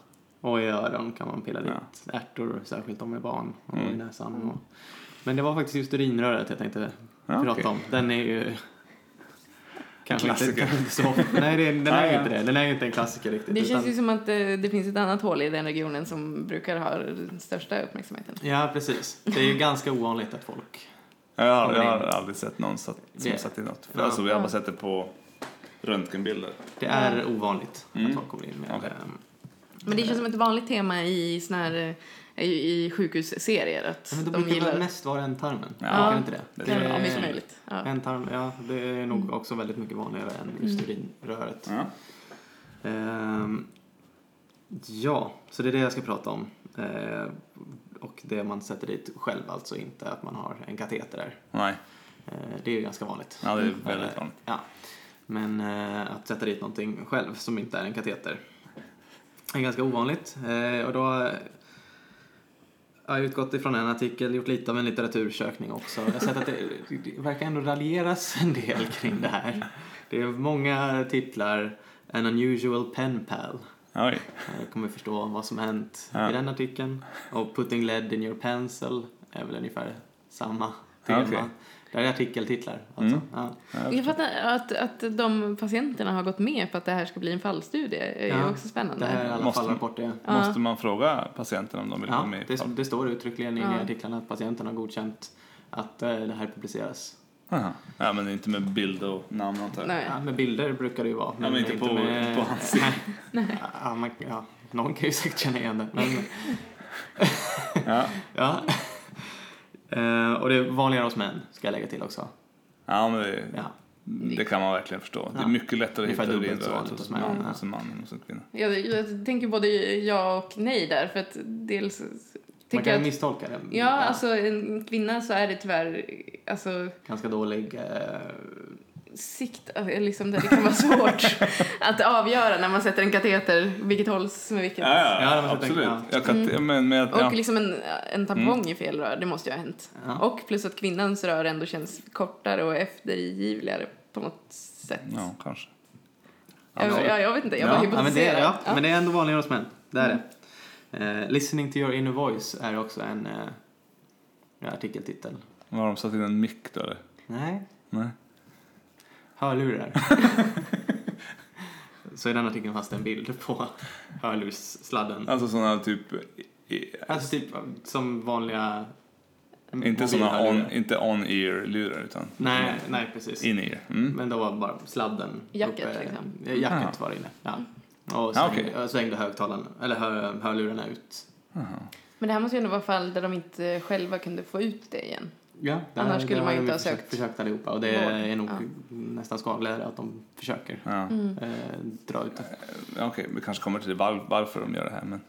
Speaker 1: Och i öron kan man pilla dit
Speaker 2: Ja.
Speaker 1: ärtor, särskilt om det är barn, och i
Speaker 2: Mm.
Speaker 1: näsan. Och... Men det var faktiskt just urinröret jag tänkte
Speaker 2: Ja,
Speaker 1: Mm. prata
Speaker 2: okej.
Speaker 1: om. Den är ju... Kanske inte,
Speaker 2: Klassiker.
Speaker 1: kanske inte så Nej, det, den
Speaker 2: Ah,
Speaker 1: är ju
Speaker 2: ja.
Speaker 1: inte det. Den är ju inte en klassiker riktigt.
Speaker 3: Det känns
Speaker 1: utan-
Speaker 3: ju som att det, det finns ett annat hål i den regionen som brukar ha den största uppmärksamheten.
Speaker 1: Ja, precis. Det är ju ganska ovanligt att folk...
Speaker 2: Jag har,
Speaker 1: Kommer
Speaker 2: jag har
Speaker 1: in.
Speaker 2: aldrig sett någon satt, som
Speaker 1: Det-
Speaker 2: satt i något.
Speaker 1: Ja.
Speaker 2: Alltså, vi har bara sett det på röntgenbilder.
Speaker 1: Det är ovanligt
Speaker 2: Mm.
Speaker 1: att folk kommer in med...
Speaker 2: Okej.
Speaker 1: ehm,
Speaker 3: Men det känns som ett vanligt tema i, såna här, eh, i, i sjukhusserier att
Speaker 1: Men då
Speaker 3: de
Speaker 1: brukar det väl
Speaker 3: gillar...
Speaker 1: mest vara ändtarmen?
Speaker 2: Ja.
Speaker 1: Brukar det inte det?
Speaker 2: Det
Speaker 3: Ja, Eh,
Speaker 2: tror jag.
Speaker 3: mycket möjligt. Ja.
Speaker 1: Ändtarm, ja, det är nog också väldigt mycket vanligare än just urinröret.
Speaker 2: Ja.
Speaker 1: Ehm, ja, så det är det jag ska prata om. Ehm, och det man sätter dit själv, alltså inte att man har en kateter där.
Speaker 2: Nej,
Speaker 1: Ehm, det är ju ganska vanligt.
Speaker 2: ja, det är väldigt vanligt.
Speaker 1: Ja. Men eh, att sätta dit någonting själv som inte är en kateter är ganska ovanligt. Eh, och då har jag utgått ifrån en artikel, gjort lite av en litteratursökning också. Jag har sett att det, det verkar ändå raljeras en del kring det här. Det är många titlar. An unusual pen pal.
Speaker 2: Oj.
Speaker 1: Jag kommer förstå vad som hänt
Speaker 2: Ja.
Speaker 1: i den artikeln. Och Putting lead in your pencil är väl ungefär samma
Speaker 2: Ja,
Speaker 1: tema.
Speaker 2: okej.
Speaker 1: Det här är artikeltitlar alltså.
Speaker 2: Mm.
Speaker 1: Ja.
Speaker 3: Jag fattar att, att de patienterna har gått med på att det här ska bli en fallstudie. är ju
Speaker 1: Ja,
Speaker 3: också spännande.
Speaker 1: Det här är alltså- i alla
Speaker 2: Måste-
Speaker 1: fall rapport det.
Speaker 3: Ja.
Speaker 2: Måste man fråga patienten om de vill vara
Speaker 1: Ja,
Speaker 2: med? i
Speaker 1: det,
Speaker 2: fall?
Speaker 1: det står uttryckligen i
Speaker 3: Ja.
Speaker 1: artiklarna att patienten har godkänt att eh, det här publiceras.
Speaker 2: Aha. Ja, men inte med bild och namn antar jag.
Speaker 3: Nej.
Speaker 1: Ja, med bilder brukar det ju vara.
Speaker 2: men inte på- på hans-
Speaker 1: ja, man, ja, någon kan ju säkert känna igen det. Men,
Speaker 2: Ja.
Speaker 1: ja. Eh, och det är vanligare hos män, ska jag lägga till också.
Speaker 2: ja, men det,
Speaker 1: Ja.
Speaker 2: det kan man verkligen förstå. Det är
Speaker 1: Ja.
Speaker 2: mycket lättare att
Speaker 1: Ungefär
Speaker 2: hitta
Speaker 1: dubbelt så
Speaker 2: urinröret
Speaker 1: vanligt
Speaker 2: hos
Speaker 1: hos män,
Speaker 2: man
Speaker 1: ja.
Speaker 2: hos en man än hos en kvinna.
Speaker 3: Jag, jag tänker både ja och nej där. För att dels...
Speaker 1: Man kan
Speaker 3: Tänker
Speaker 1: ju
Speaker 3: jag att,
Speaker 1: misstolka det.
Speaker 3: ja, alltså en kvinna så är det tyvärr... Alltså,
Speaker 1: Ganska dålig... eh,
Speaker 3: sikt, eller liksom det, det kan vara svårt att avgöra när man sätter en kateter, vilket håll som är vilket.
Speaker 2: Ja,
Speaker 1: Ja, det Mm.
Speaker 2: ja
Speaker 1: måste
Speaker 2: absolut.
Speaker 1: tänka, ja.
Speaker 2: Jag kan, men, men,
Speaker 3: Och
Speaker 2: ja.
Speaker 3: liksom en, en tampong i fel rör, det måste ju ha hänt.
Speaker 1: Mm. Ja.
Speaker 3: Och plus att kvinnans rör ändå känns kortare och eftergivligare på något sätt.
Speaker 2: ja, kanske.
Speaker 3: Jag, jag, jag vet inte, jag
Speaker 1: ja,
Speaker 3: bara
Speaker 1: ja, men det,
Speaker 3: hypotiserar.
Speaker 1: ja,
Speaker 3: Ja. Mm.
Speaker 1: men det är ändå vanligare hos män. Det är det. Eh, listening to your inner voice är också en eh, ja, artikeltitel.
Speaker 2: Har de satt in en mick då eller?
Speaker 1: Nej,
Speaker 2: Nej.
Speaker 1: hörlurar. så i den artikeln fanns det en bild på hörlurssladden.
Speaker 2: Alltså sådana typ... i- i-
Speaker 1: Alltså typ som vanliga...
Speaker 2: Inte såna
Speaker 1: mobilhörlurar.
Speaker 2: on, inte on-ear-lurar utan
Speaker 1: Nej, nej precis.
Speaker 2: in-ear. Mm.
Speaker 1: Men då var bara sladden
Speaker 3: Jacket,
Speaker 1: uppe.
Speaker 3: liksom. Mm.
Speaker 1: Ja, Jacket var det inne. Ja. Och
Speaker 2: Ah,
Speaker 1: svängde,
Speaker 2: okej.
Speaker 1: och svängde högtalarna, eller hör, hörlurarna ut.
Speaker 2: Aha.
Speaker 3: Men det här måste ju ändå vara fall där de inte själva kunde få ut det igen.
Speaker 1: Ja, det
Speaker 3: Annars
Speaker 1: här-
Speaker 3: skulle
Speaker 1: det
Speaker 3: man
Speaker 1: har
Speaker 3: ju
Speaker 1: de
Speaker 3: inte ha
Speaker 1: försökt-
Speaker 3: sökt
Speaker 1: försökt allihopa och det
Speaker 3: vård.
Speaker 1: är nog
Speaker 3: Ja.
Speaker 1: nästan skadligare att de försöker
Speaker 2: Ja.
Speaker 3: Mm.
Speaker 1: eh, dra ut det.
Speaker 2: Ja, Okej, vi kanske kommer till var, varför de gör det här. Men...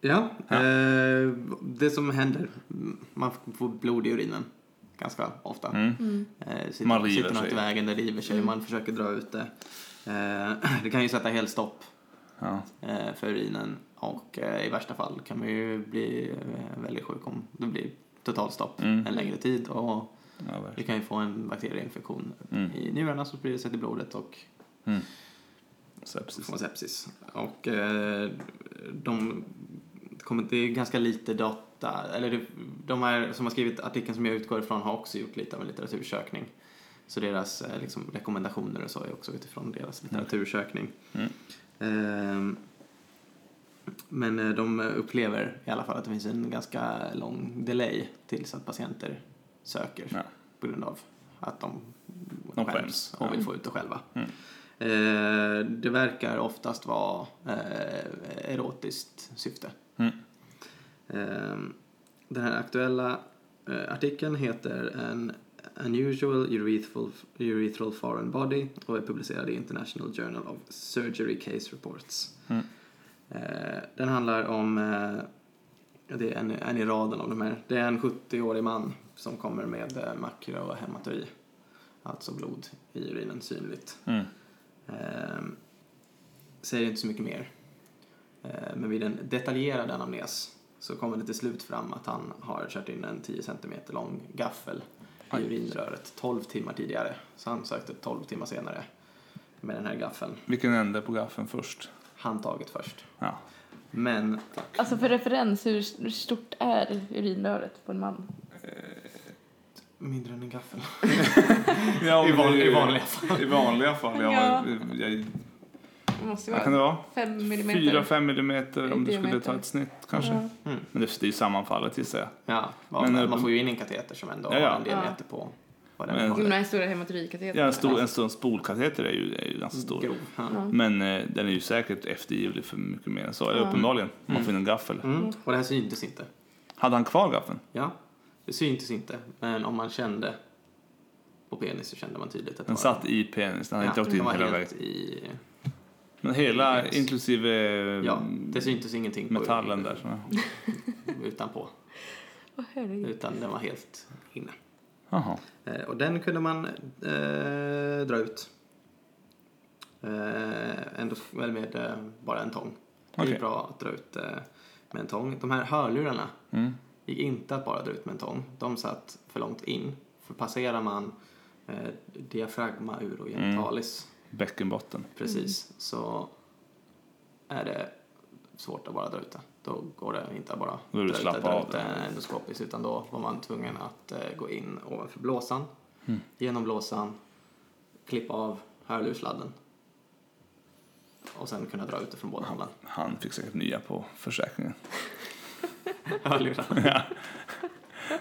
Speaker 1: Ja,
Speaker 2: Ja.
Speaker 1: Eh, det som händer, mm, man får blod i urinen ganska ofta.
Speaker 2: Mm.
Speaker 1: Eh, sitter,
Speaker 2: Man river
Speaker 1: sitter något
Speaker 2: sig. Mm.
Speaker 1: i vägen, det river sig, man försöker dra ut det. Eh, det kan ju sätta helt stopp
Speaker 2: Ja.
Speaker 1: eh, för urinen och eh, i värsta fall kan man ju bli eh, väldigt sjuk om det blir totalstopp
Speaker 2: Mm.
Speaker 1: en längre tid och
Speaker 2: Ja, verkligen.
Speaker 1: du kan ju få en bakterieinfektion
Speaker 2: Mm.
Speaker 1: i njurarna som sprider sig till blodet och
Speaker 2: Mm. Sepsis.
Speaker 1: från sepsis. Och eh, de kommer, det är ganska lite data, eller det, de här som har skrivit artikeln som jag utgår ifrån har också gjort lite av en litteratursökning. Så deras eh, liksom, rekommendationer och så är också utifrån deras litteratursökning.
Speaker 2: Mm.
Speaker 1: Ehm, men eh, de upplever i alla fall att det finns en ganska lång delay tills att patienter söker
Speaker 2: Ja.
Speaker 1: på grund av att de,
Speaker 2: De skäms.
Speaker 1: skäms och
Speaker 2: Ja.
Speaker 1: vill få ut det själva.
Speaker 2: Mm.
Speaker 1: Eh, det verkar oftast vara eh, erotiskt syfte.
Speaker 2: Mm.
Speaker 1: Eh, den här aktuella eh, artikeln heter An Unusual urethral, urethral Foreign Body och är publicerad i International Journal of Surgery Case Reports.
Speaker 2: Mm.
Speaker 1: Eh, den handlar om, eh, det är en, en i raden av de här, det är en 70-årig man som kommer med eh, makro och hematoid. alltså blod i urinen synligt.
Speaker 2: Mm.
Speaker 1: Ehm, säger inte så mycket mer. Ehm, men vid en detaljerad anamnes så kommer det till slut fram att han har kört in en 10 cm lång gaffel i urinröret 12 timmar tidigare. Så han sökte 12 timmar senare med den här gaffeln.
Speaker 2: Vilken ände på gaffeln först?
Speaker 1: Handtaget först.
Speaker 2: Ja.
Speaker 1: Men
Speaker 3: Alltså för referens, hur stort är urinröret på en man?
Speaker 1: mindre än en gaffel.
Speaker 2: Ja,
Speaker 1: I,
Speaker 2: men
Speaker 1: van,
Speaker 2: det-
Speaker 1: I vanliga fall.
Speaker 2: I vanliga fall, ja.
Speaker 3: Ja.
Speaker 2: Jag, jag,
Speaker 3: Det måste
Speaker 2: vad kan det vara?
Speaker 3: fem millimeter.
Speaker 2: 4-5 millimeter om du skulle
Speaker 3: Diameter.
Speaker 2: ta ett snitt kanske.
Speaker 3: Ja.
Speaker 1: Mm.
Speaker 2: Men det det är ju sammanfallet gissar jag.
Speaker 1: Ja, vad-
Speaker 2: Men, eh,
Speaker 1: man får ju in en kateter som ändå
Speaker 2: Ja, ja.
Speaker 1: har en diameter på vad den
Speaker 2: Men-
Speaker 3: De
Speaker 1: håller.
Speaker 3: här stora hematoridkatetrarna.
Speaker 2: Ja, en stor, en stor spolkateter är ju, är ju ganska stor.
Speaker 3: Mm.
Speaker 1: Grov. Ja.
Speaker 3: Ja.
Speaker 2: Men eh, den är ju säkert eftergivlig för mycket mer än så. Eller
Speaker 3: Ja.
Speaker 2: uppenbarligen, om man får in en gaffel.
Speaker 1: Mm. Och det här syntes inte.
Speaker 2: Hade han kvar gaffeln?
Speaker 1: Ja, det syntes inte. Men om man kände på penis så kände man tydligt att
Speaker 2: Den
Speaker 1: det var-
Speaker 2: satt i penisen, den hade inte
Speaker 1: ja,
Speaker 2: åkt in
Speaker 1: den var
Speaker 2: hela
Speaker 1: helt
Speaker 2: vägen.
Speaker 1: i...
Speaker 2: Men hela,
Speaker 1: Yes.
Speaker 2: inklusive eh,
Speaker 1: Ja, det syntes ingenting på-
Speaker 2: metallen där. Så.
Speaker 1: utanpå.
Speaker 3: Åh, herregud.
Speaker 1: Utan den var helt inne.
Speaker 2: Jaha.
Speaker 1: Eh, Och den kunde man eh, dra ut. Eh, ändå väl med eh, bara en tång. Det
Speaker 2: Okej.
Speaker 1: är bra att dra ut eh, med en tång. De här hörlurarna
Speaker 2: Mm.
Speaker 1: gick inte att bara dra ut med en tång. De satt för långt in. För passerar man eh, diafragma urogenitalis,
Speaker 2: Bäckenbotten.
Speaker 1: precis,
Speaker 2: Mm.
Speaker 1: så är det svårt att bara dra ut det. Då går det inte att bara
Speaker 2: Då vill du
Speaker 1: dra ut
Speaker 2: slappa
Speaker 1: det, dra
Speaker 2: av
Speaker 1: ut det
Speaker 2: det.
Speaker 1: endoskopiskt utan då var man tvungen att eh, gå in ovanför blåsan,
Speaker 2: Mm.
Speaker 1: genom blåsan, klippa av hörlursladden och sen kunna dra ut det från båda hållen.
Speaker 2: Han fick säkert nya på försäkringen.
Speaker 1: Hörlurarna.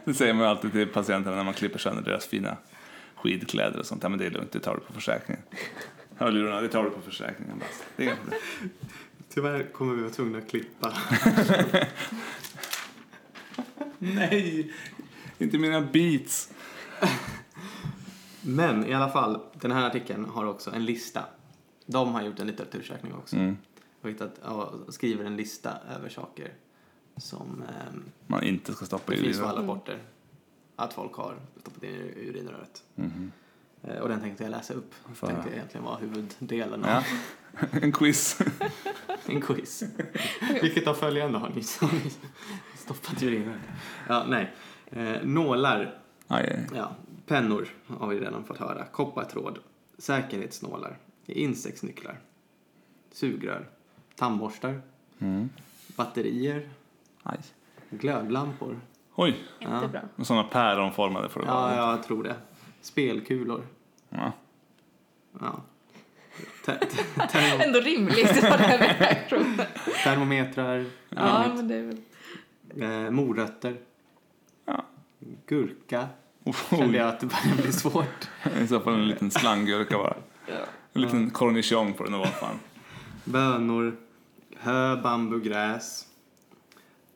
Speaker 2: Det säger man ju alltid till patienterna när man klipper sönder deras fina skidkläder och sånt. Ja, men det är lugnt, det tar du på försäkringen. Hörlurarna, det tar du på försäkringen. Bara, Det är inga problem.
Speaker 1: Tyvärr kommer vi vara tvungna att klippa
Speaker 2: Nej, inte mina beats.
Speaker 1: Men i alla fall, den här artikeln har också en lista. De har gjort en litteratursökning också.
Speaker 2: Mm.
Speaker 1: Och hittat, och skriver en lista över saker som ehm,
Speaker 2: Man inte ska stoppa
Speaker 1: det
Speaker 2: i
Speaker 1: finns på
Speaker 2: urinröret.
Speaker 1: alla porter. Att folk har stoppat in i urinröret.
Speaker 2: Mhm.
Speaker 1: Eh, Och den tänkte jag läsa upp.
Speaker 2: Fan.
Speaker 1: Tänkte jag egentligen vara huvuddelen av
Speaker 2: Ja. En quiz.
Speaker 1: en quiz. Vilket av följande har ni som ni stoppat i urinröret? Ja, nej. Eh, nålar
Speaker 2: Aj, aj.
Speaker 1: Ja, pennor har vi redan fått höra. Koppartråd, säkerhetsnålar, insektsnycklar, sugrör, tandborstar,
Speaker 2: Mm.
Speaker 1: batterier,
Speaker 2: aj.
Speaker 1: glödlampor.
Speaker 2: Oj,
Speaker 3: Inte bra.
Speaker 2: och sådana päronformade får det
Speaker 1: Ja,
Speaker 2: vara.
Speaker 1: jag tror det. Spelkulor.
Speaker 2: Ja.
Speaker 1: Ja. Te- te- termo-
Speaker 3: Ändå rimligt vad det här är.
Speaker 1: termometrar.
Speaker 3: Ja, men det är väl...
Speaker 1: Eh, morötter.
Speaker 2: Ja.
Speaker 1: Gurka. Kände
Speaker 2: Oj,
Speaker 1: jag att det började bli svårt.
Speaker 2: I så fall en liten slanggurka bara.
Speaker 3: Ja.
Speaker 2: En liten cornichon på den och vad fan.
Speaker 1: Bönor. Hö, bambu, gräs.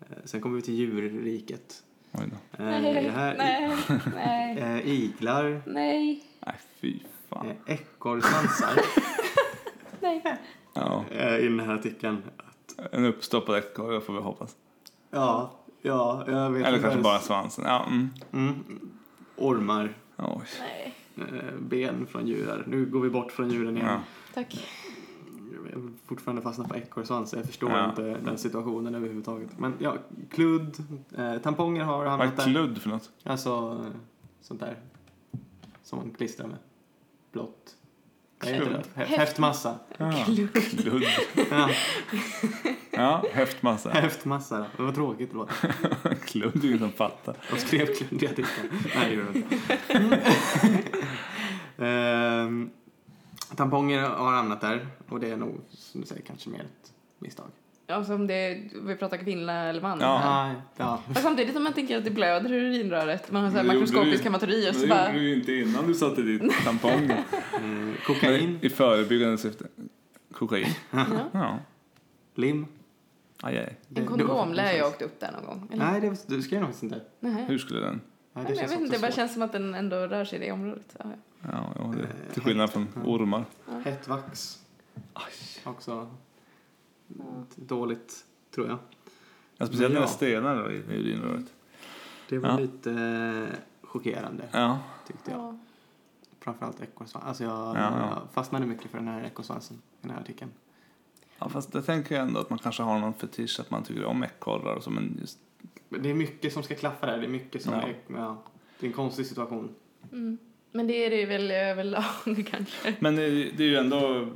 Speaker 1: Eh, Sen kommer vi till djurriket.
Speaker 2: Oj då.
Speaker 1: Eh,
Speaker 3: Nej,
Speaker 1: det här-
Speaker 3: nej, nej,
Speaker 1: Eh, iglar,
Speaker 3: nej,
Speaker 2: Nej, fy fan.
Speaker 1: eh, ekorrsvansar
Speaker 3: nej.
Speaker 2: Ja.
Speaker 1: eh, i den här artikeln.
Speaker 2: En uppstoppad ekorre får vi hoppas.
Speaker 1: Ja, ja, jag vet
Speaker 2: Eller
Speaker 1: inte
Speaker 2: kanske
Speaker 1: ens.
Speaker 2: bara svansen. Ja, mm.
Speaker 1: Mm. Ormar,
Speaker 2: Oj.
Speaker 3: nej.
Speaker 1: eh, ben från djurar. Nu går vi bort från djuren igen.
Speaker 2: Ja.
Speaker 3: Tack.
Speaker 1: Jag är fortfarande fastnat på ekorrsvansar. Jag förstår
Speaker 2: Ja.
Speaker 1: inte den situationen överhuvudtaget. Men ja, kludd, eh, tamponger har
Speaker 2: Vad
Speaker 1: hamnat
Speaker 2: är
Speaker 1: där.
Speaker 2: kludd för något?
Speaker 1: Alltså, eh, sånt där som man klistrar med. Blått. Jag vet
Speaker 2: Kludd.
Speaker 1: inte. Hä- Häftmassa.
Speaker 2: Ja.
Speaker 3: Klubb.
Speaker 2: Kludd.
Speaker 1: Ja,
Speaker 2: Ja, häftmassa.
Speaker 1: häftmassa då. Det var tråkigt det låter.
Speaker 2: Kludd är ingen som fattar.
Speaker 1: De skrev kluddiga titlar. Nej, det gjorde de inte. Ehm, tamponger har hamnat där och det är nog, som du säger, kanske mer ett misstag.
Speaker 3: Alltså om det är, vi pratar kvinna eller man.
Speaker 2: Ja.
Speaker 3: här.
Speaker 1: Nej, Ah, ja.
Speaker 3: Och samtidigt om man tänker att det blöder ur urinröret, man har så här
Speaker 2: Men det gjorde du-
Speaker 3: makroskopisk hematorier så
Speaker 2: Det
Speaker 3: bara...
Speaker 2: gjorde du ju inte innan du satte dit tampongen.
Speaker 1: Ehm, kokain,
Speaker 2: I förebyggande syfte. Kokain.
Speaker 3: Ja.
Speaker 2: Ja.
Speaker 1: lim.
Speaker 2: Aj, aj.
Speaker 1: Det-
Speaker 3: En
Speaker 1: då-
Speaker 3: kondom lär jag ha åkt upp där någon gång. Eller?
Speaker 1: Nej, det, du skrev nog faktiskt inte.
Speaker 3: Nej.
Speaker 2: Hur skulle den?
Speaker 1: Nej,
Speaker 3: Nej, men jag vet inte, det
Speaker 1: också
Speaker 3: bara
Speaker 1: svårt.
Speaker 3: känns som att den ändå rör sig i det området. Ja, ja.
Speaker 2: Ja, ja det, till skillnad från ormar.
Speaker 1: Hett vax,
Speaker 2: Eh, Aj.
Speaker 1: också dåligt, tror jag.
Speaker 2: Ja, speciellt
Speaker 1: Men
Speaker 2: när det
Speaker 1: ja.
Speaker 2: är stenar då i i urinröret.
Speaker 1: Det var
Speaker 2: Ja.
Speaker 1: lite eh, chockerande,
Speaker 2: Ja.
Speaker 1: tyckte jag.
Speaker 3: Ja.
Speaker 1: framförallt ekorrsvans. Alltså jag,
Speaker 2: Ja, ja.
Speaker 1: jag fastnade mycket för den här ekorrsvansen i den här artikeln.
Speaker 2: Ja, fast det tänker jag ändå att man kanske har någon fetisch att man tycker om ekorrar och så, men just...
Speaker 1: Men Det är mycket som ska klaffa där. Det är mycket som
Speaker 2: Ja.
Speaker 1: är... Ja, det är en konstig situation.
Speaker 3: Mm. Men det är det ju väl överlag kanske.
Speaker 2: Men det, det är ju ändå...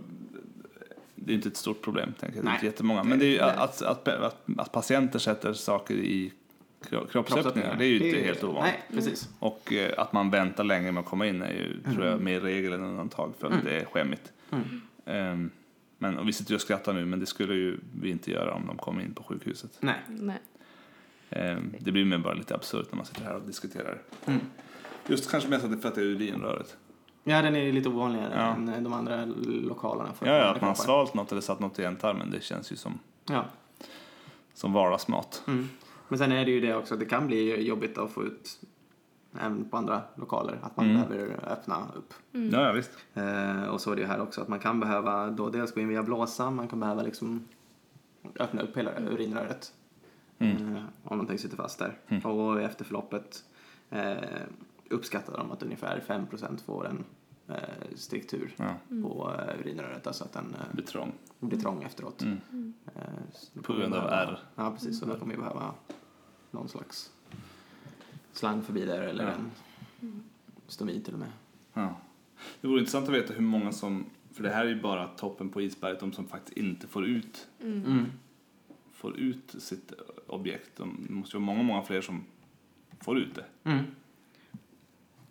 Speaker 2: Det är inte ett stort problem, tänker jag. Det är
Speaker 1: Nej.
Speaker 2: inte jättemånga. Men det är ju
Speaker 1: Nej.
Speaker 2: att, att, att, att patienter sätter saker i kro- kroppsöppningar, det är ju inte helt ovanligt.
Speaker 1: Nej, precis.
Speaker 2: Och eh, att man väntar länge med att komma in är ju, tror jag, mer regel än undantag för att
Speaker 1: Mm.
Speaker 2: det är skämmigt.
Speaker 1: Mm.
Speaker 2: Ehm, men, och vi sitter ju och skrattar nu, men det skulle ju vi inte göra om de kom in på sjukhuset.
Speaker 1: Nej.
Speaker 3: Nej.
Speaker 2: Ehm, det blir mer bara lite absurt när man sitter här och diskuterar.
Speaker 1: Mm.
Speaker 2: Just kanske mest att det för att det är urinröret.
Speaker 1: Ja, den är lite ovanligare
Speaker 2: Ja.
Speaker 1: än de andra lokalerna. För
Speaker 2: Ja, ja, att man
Speaker 1: kroppar.
Speaker 2: har svalt något eller satt något i ändtarmen, det känns ju som,
Speaker 1: Ja.
Speaker 2: som vardagsmat.
Speaker 1: Mm. Men sen är det ju det också, det kan bli jobbigt att få ut även på andra lokaler, att man
Speaker 2: Mm.
Speaker 1: behöver öppna upp.
Speaker 3: Mm.
Speaker 2: Ja, ja, visst.
Speaker 1: Eh, och så är det ju här också, att man kan behöva då dels gå in via blåsan, man kan behöva liksom öppna upp hela urinröret
Speaker 2: Mm.
Speaker 1: eh, om någonting sitter fast där.
Speaker 2: Mm.
Speaker 1: Och efter förloppet eh, uppskattar de att ungefär 5% får en eh, struktur
Speaker 2: Ja,
Speaker 3: Mm.
Speaker 1: på eh, urinröret, alltså att den eh,
Speaker 2: blir trång.
Speaker 1: blir trång efteråt.
Speaker 2: Mm.
Speaker 1: Eh, så då
Speaker 2: På grund
Speaker 1: kommer
Speaker 2: av
Speaker 1: vi behöva-
Speaker 2: ärr.
Speaker 1: Ja, precis. Så då kommer vi behöva någon slags slang förbi där eller
Speaker 2: Ja.
Speaker 1: en stomi till och med.
Speaker 2: Ja.
Speaker 4: Det vore intressant att veta hur många som, för det här är ju bara toppen på isberget, de som faktiskt inte får ut,
Speaker 3: Mm.
Speaker 2: Mm.
Speaker 4: får ut sitt objekt. De, det måste ju vara många, många fler som får ut det.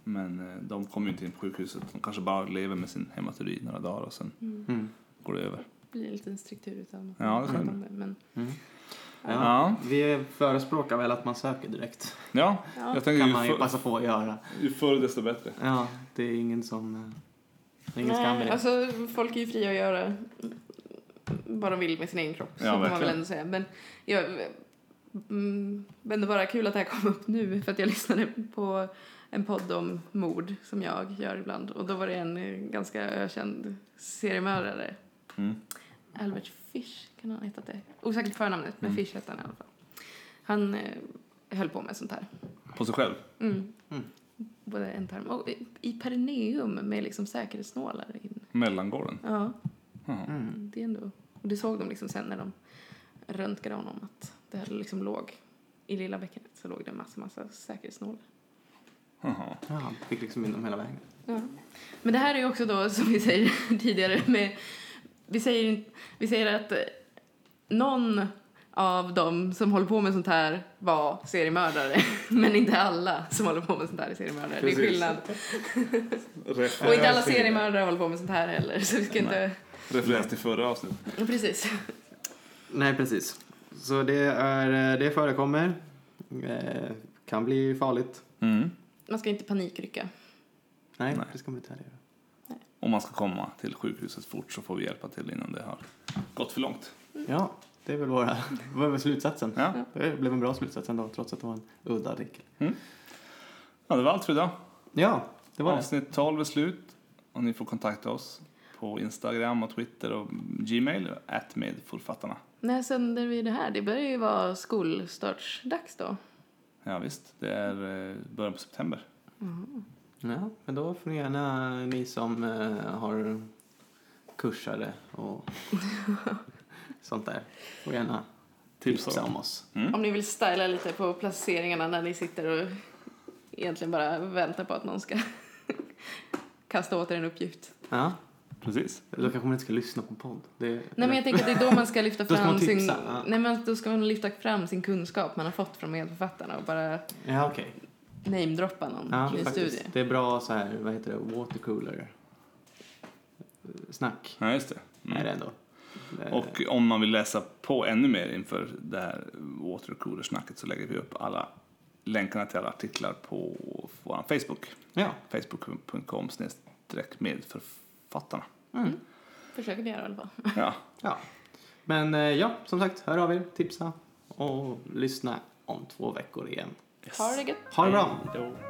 Speaker 2: Men eh, de kommer ju inte in på sjukhuset. De kanske bara lever med sin hematuri några dagar och sen
Speaker 3: Mm.
Speaker 1: Mm.
Speaker 2: går det över.
Speaker 3: blir en liten struktur utav något.
Speaker 2: Ja, det kan
Speaker 3: Mm. Men,
Speaker 1: Mm. Ja.
Speaker 2: Ja.
Speaker 1: Vi förespråkar väl att man söker direkt.
Speaker 2: Ja,
Speaker 3: ja.
Speaker 2: jag
Speaker 1: Det
Speaker 2: tänker
Speaker 1: kan
Speaker 2: ju,
Speaker 1: man ju
Speaker 2: för,
Speaker 1: passa på att göra.
Speaker 2: ju förr desto bättre.
Speaker 1: Ja, det är ingen som... eh, det är ingen skam i
Speaker 3: Nej,
Speaker 1: det.
Speaker 3: alltså folk är ju fria att göra vad de vill med sin egen kropp.
Speaker 2: Ja,
Speaker 3: så kan man
Speaker 2: verkligen.
Speaker 3: väl ändå säga. Men jag, mm, men det var bara kul att det här kom upp nu för att jag lyssnade på en podd om mord som jag gör ibland. Och då var det en eh, ganska ökänd seriemördare.
Speaker 2: Mm.
Speaker 3: Albert Fish kan han heta det. Osäkert förnamnet, men
Speaker 2: Mm.
Speaker 3: Fish hette han i alla fall. Han eh, höll på med sånt här.
Speaker 2: På sig själv.
Speaker 3: Mm.
Speaker 1: Mm.
Speaker 3: Både en tarm och i- i perineum med liksom säkerhetsnålar in.
Speaker 2: Mellangården.
Speaker 3: Ja,
Speaker 2: Jaha.
Speaker 1: Mm.
Speaker 3: det är ändå... Och det såg de liksom sen när de röntgade honom att det här liksom låg i lilla bäckenet så låg det en massa, massa säkerhetsnålar.
Speaker 2: Jaha.
Speaker 1: Ja, fick liksom in dem hela vägen.
Speaker 3: Ja. Men det här är ju också då som vi säger tidigare med... Vi säger, in- vi säger att eh, någon av dem som håller på med sånt här var seriemördare, men inte alla som håller på med sånt här är seriemördare. Det är
Speaker 2: Precis.
Speaker 3: skillnad. Och inte alla seriemördare håller på med sånt här heller. Så vi ska inte...
Speaker 2: Referens till förra avsnittet.
Speaker 3: Precis.
Speaker 1: Nej, precis. Så det, är, eh, det förekommer. Eh, kan bli farligt.
Speaker 2: Mm.
Speaker 3: Man ska inte panikrycka.
Speaker 1: Nej,
Speaker 2: Nej.
Speaker 1: det ska man inte heller göra.
Speaker 2: Om man ska komma till sjukhuset fort så får vi hjälpa till innan det har gått för långt.
Speaker 1: Ja, det är väl våra, vad är väl slutsatsen.
Speaker 2: Ja.
Speaker 1: Det blev en bra slutsats ändå, trots att det var en udda artikel.
Speaker 2: ja, det var allt för idag.
Speaker 1: Ja, det var det.
Speaker 2: Avsnitt 12 är slut. Och ni får kontakta oss på Instagram och Twitter och Gmail, at med författarna.
Speaker 3: När sänder vi det här? Det börjar ju vara skolstartsdags då.
Speaker 2: Ja, visst, det är eh, början på september.
Speaker 1: Ja, men då får ni gärna, ni som eh, har kursare och sånt där, får gärna
Speaker 2: Tipsa
Speaker 1: tipsa
Speaker 2: om.
Speaker 1: om oss.
Speaker 3: Om ni vill styla lite på placeringarna när ni sitter och egentligen bara väntar på att någon ska kasta åt er en uppgift.
Speaker 1: Ja,
Speaker 2: Precis.
Speaker 1: då kanske man inte ska lyssna på podd. Det,
Speaker 3: Nej men jag tänker att det är då man ska lyfta
Speaker 1: Då ska man
Speaker 3: fram sin...
Speaker 1: tipsa, ja.
Speaker 3: Nej men då ska man lyfta fram sin kunskap man har fått från medförfattarna och bara
Speaker 1: Ja, okej.
Speaker 3: namedroppa någon
Speaker 1: Ja,
Speaker 3: i en studie.
Speaker 1: faktiskt. Det är bra så här, vad heter det, watercooler snack
Speaker 2: Ja, just det.
Speaker 1: är
Speaker 2: Mm.
Speaker 1: det ändå. Eh,
Speaker 2: Och om man vill läsa på ännu mer inför det här watercooler-snacket så lägger vi upp alla länkarna till alla artiklar på vår Facebook.
Speaker 1: Ja,
Speaker 2: Facebook.com snedstreck medförfattarna.
Speaker 1: Mm.
Speaker 3: Försöker vi göra i alla fall.
Speaker 2: Ja,
Speaker 1: ja. Men eh, ja, som sagt, hör av er, tipsa och lyssna om två veckor igen.
Speaker 3: Ha det gött!
Speaker 1: Ha det bra!
Speaker 2: Hej då.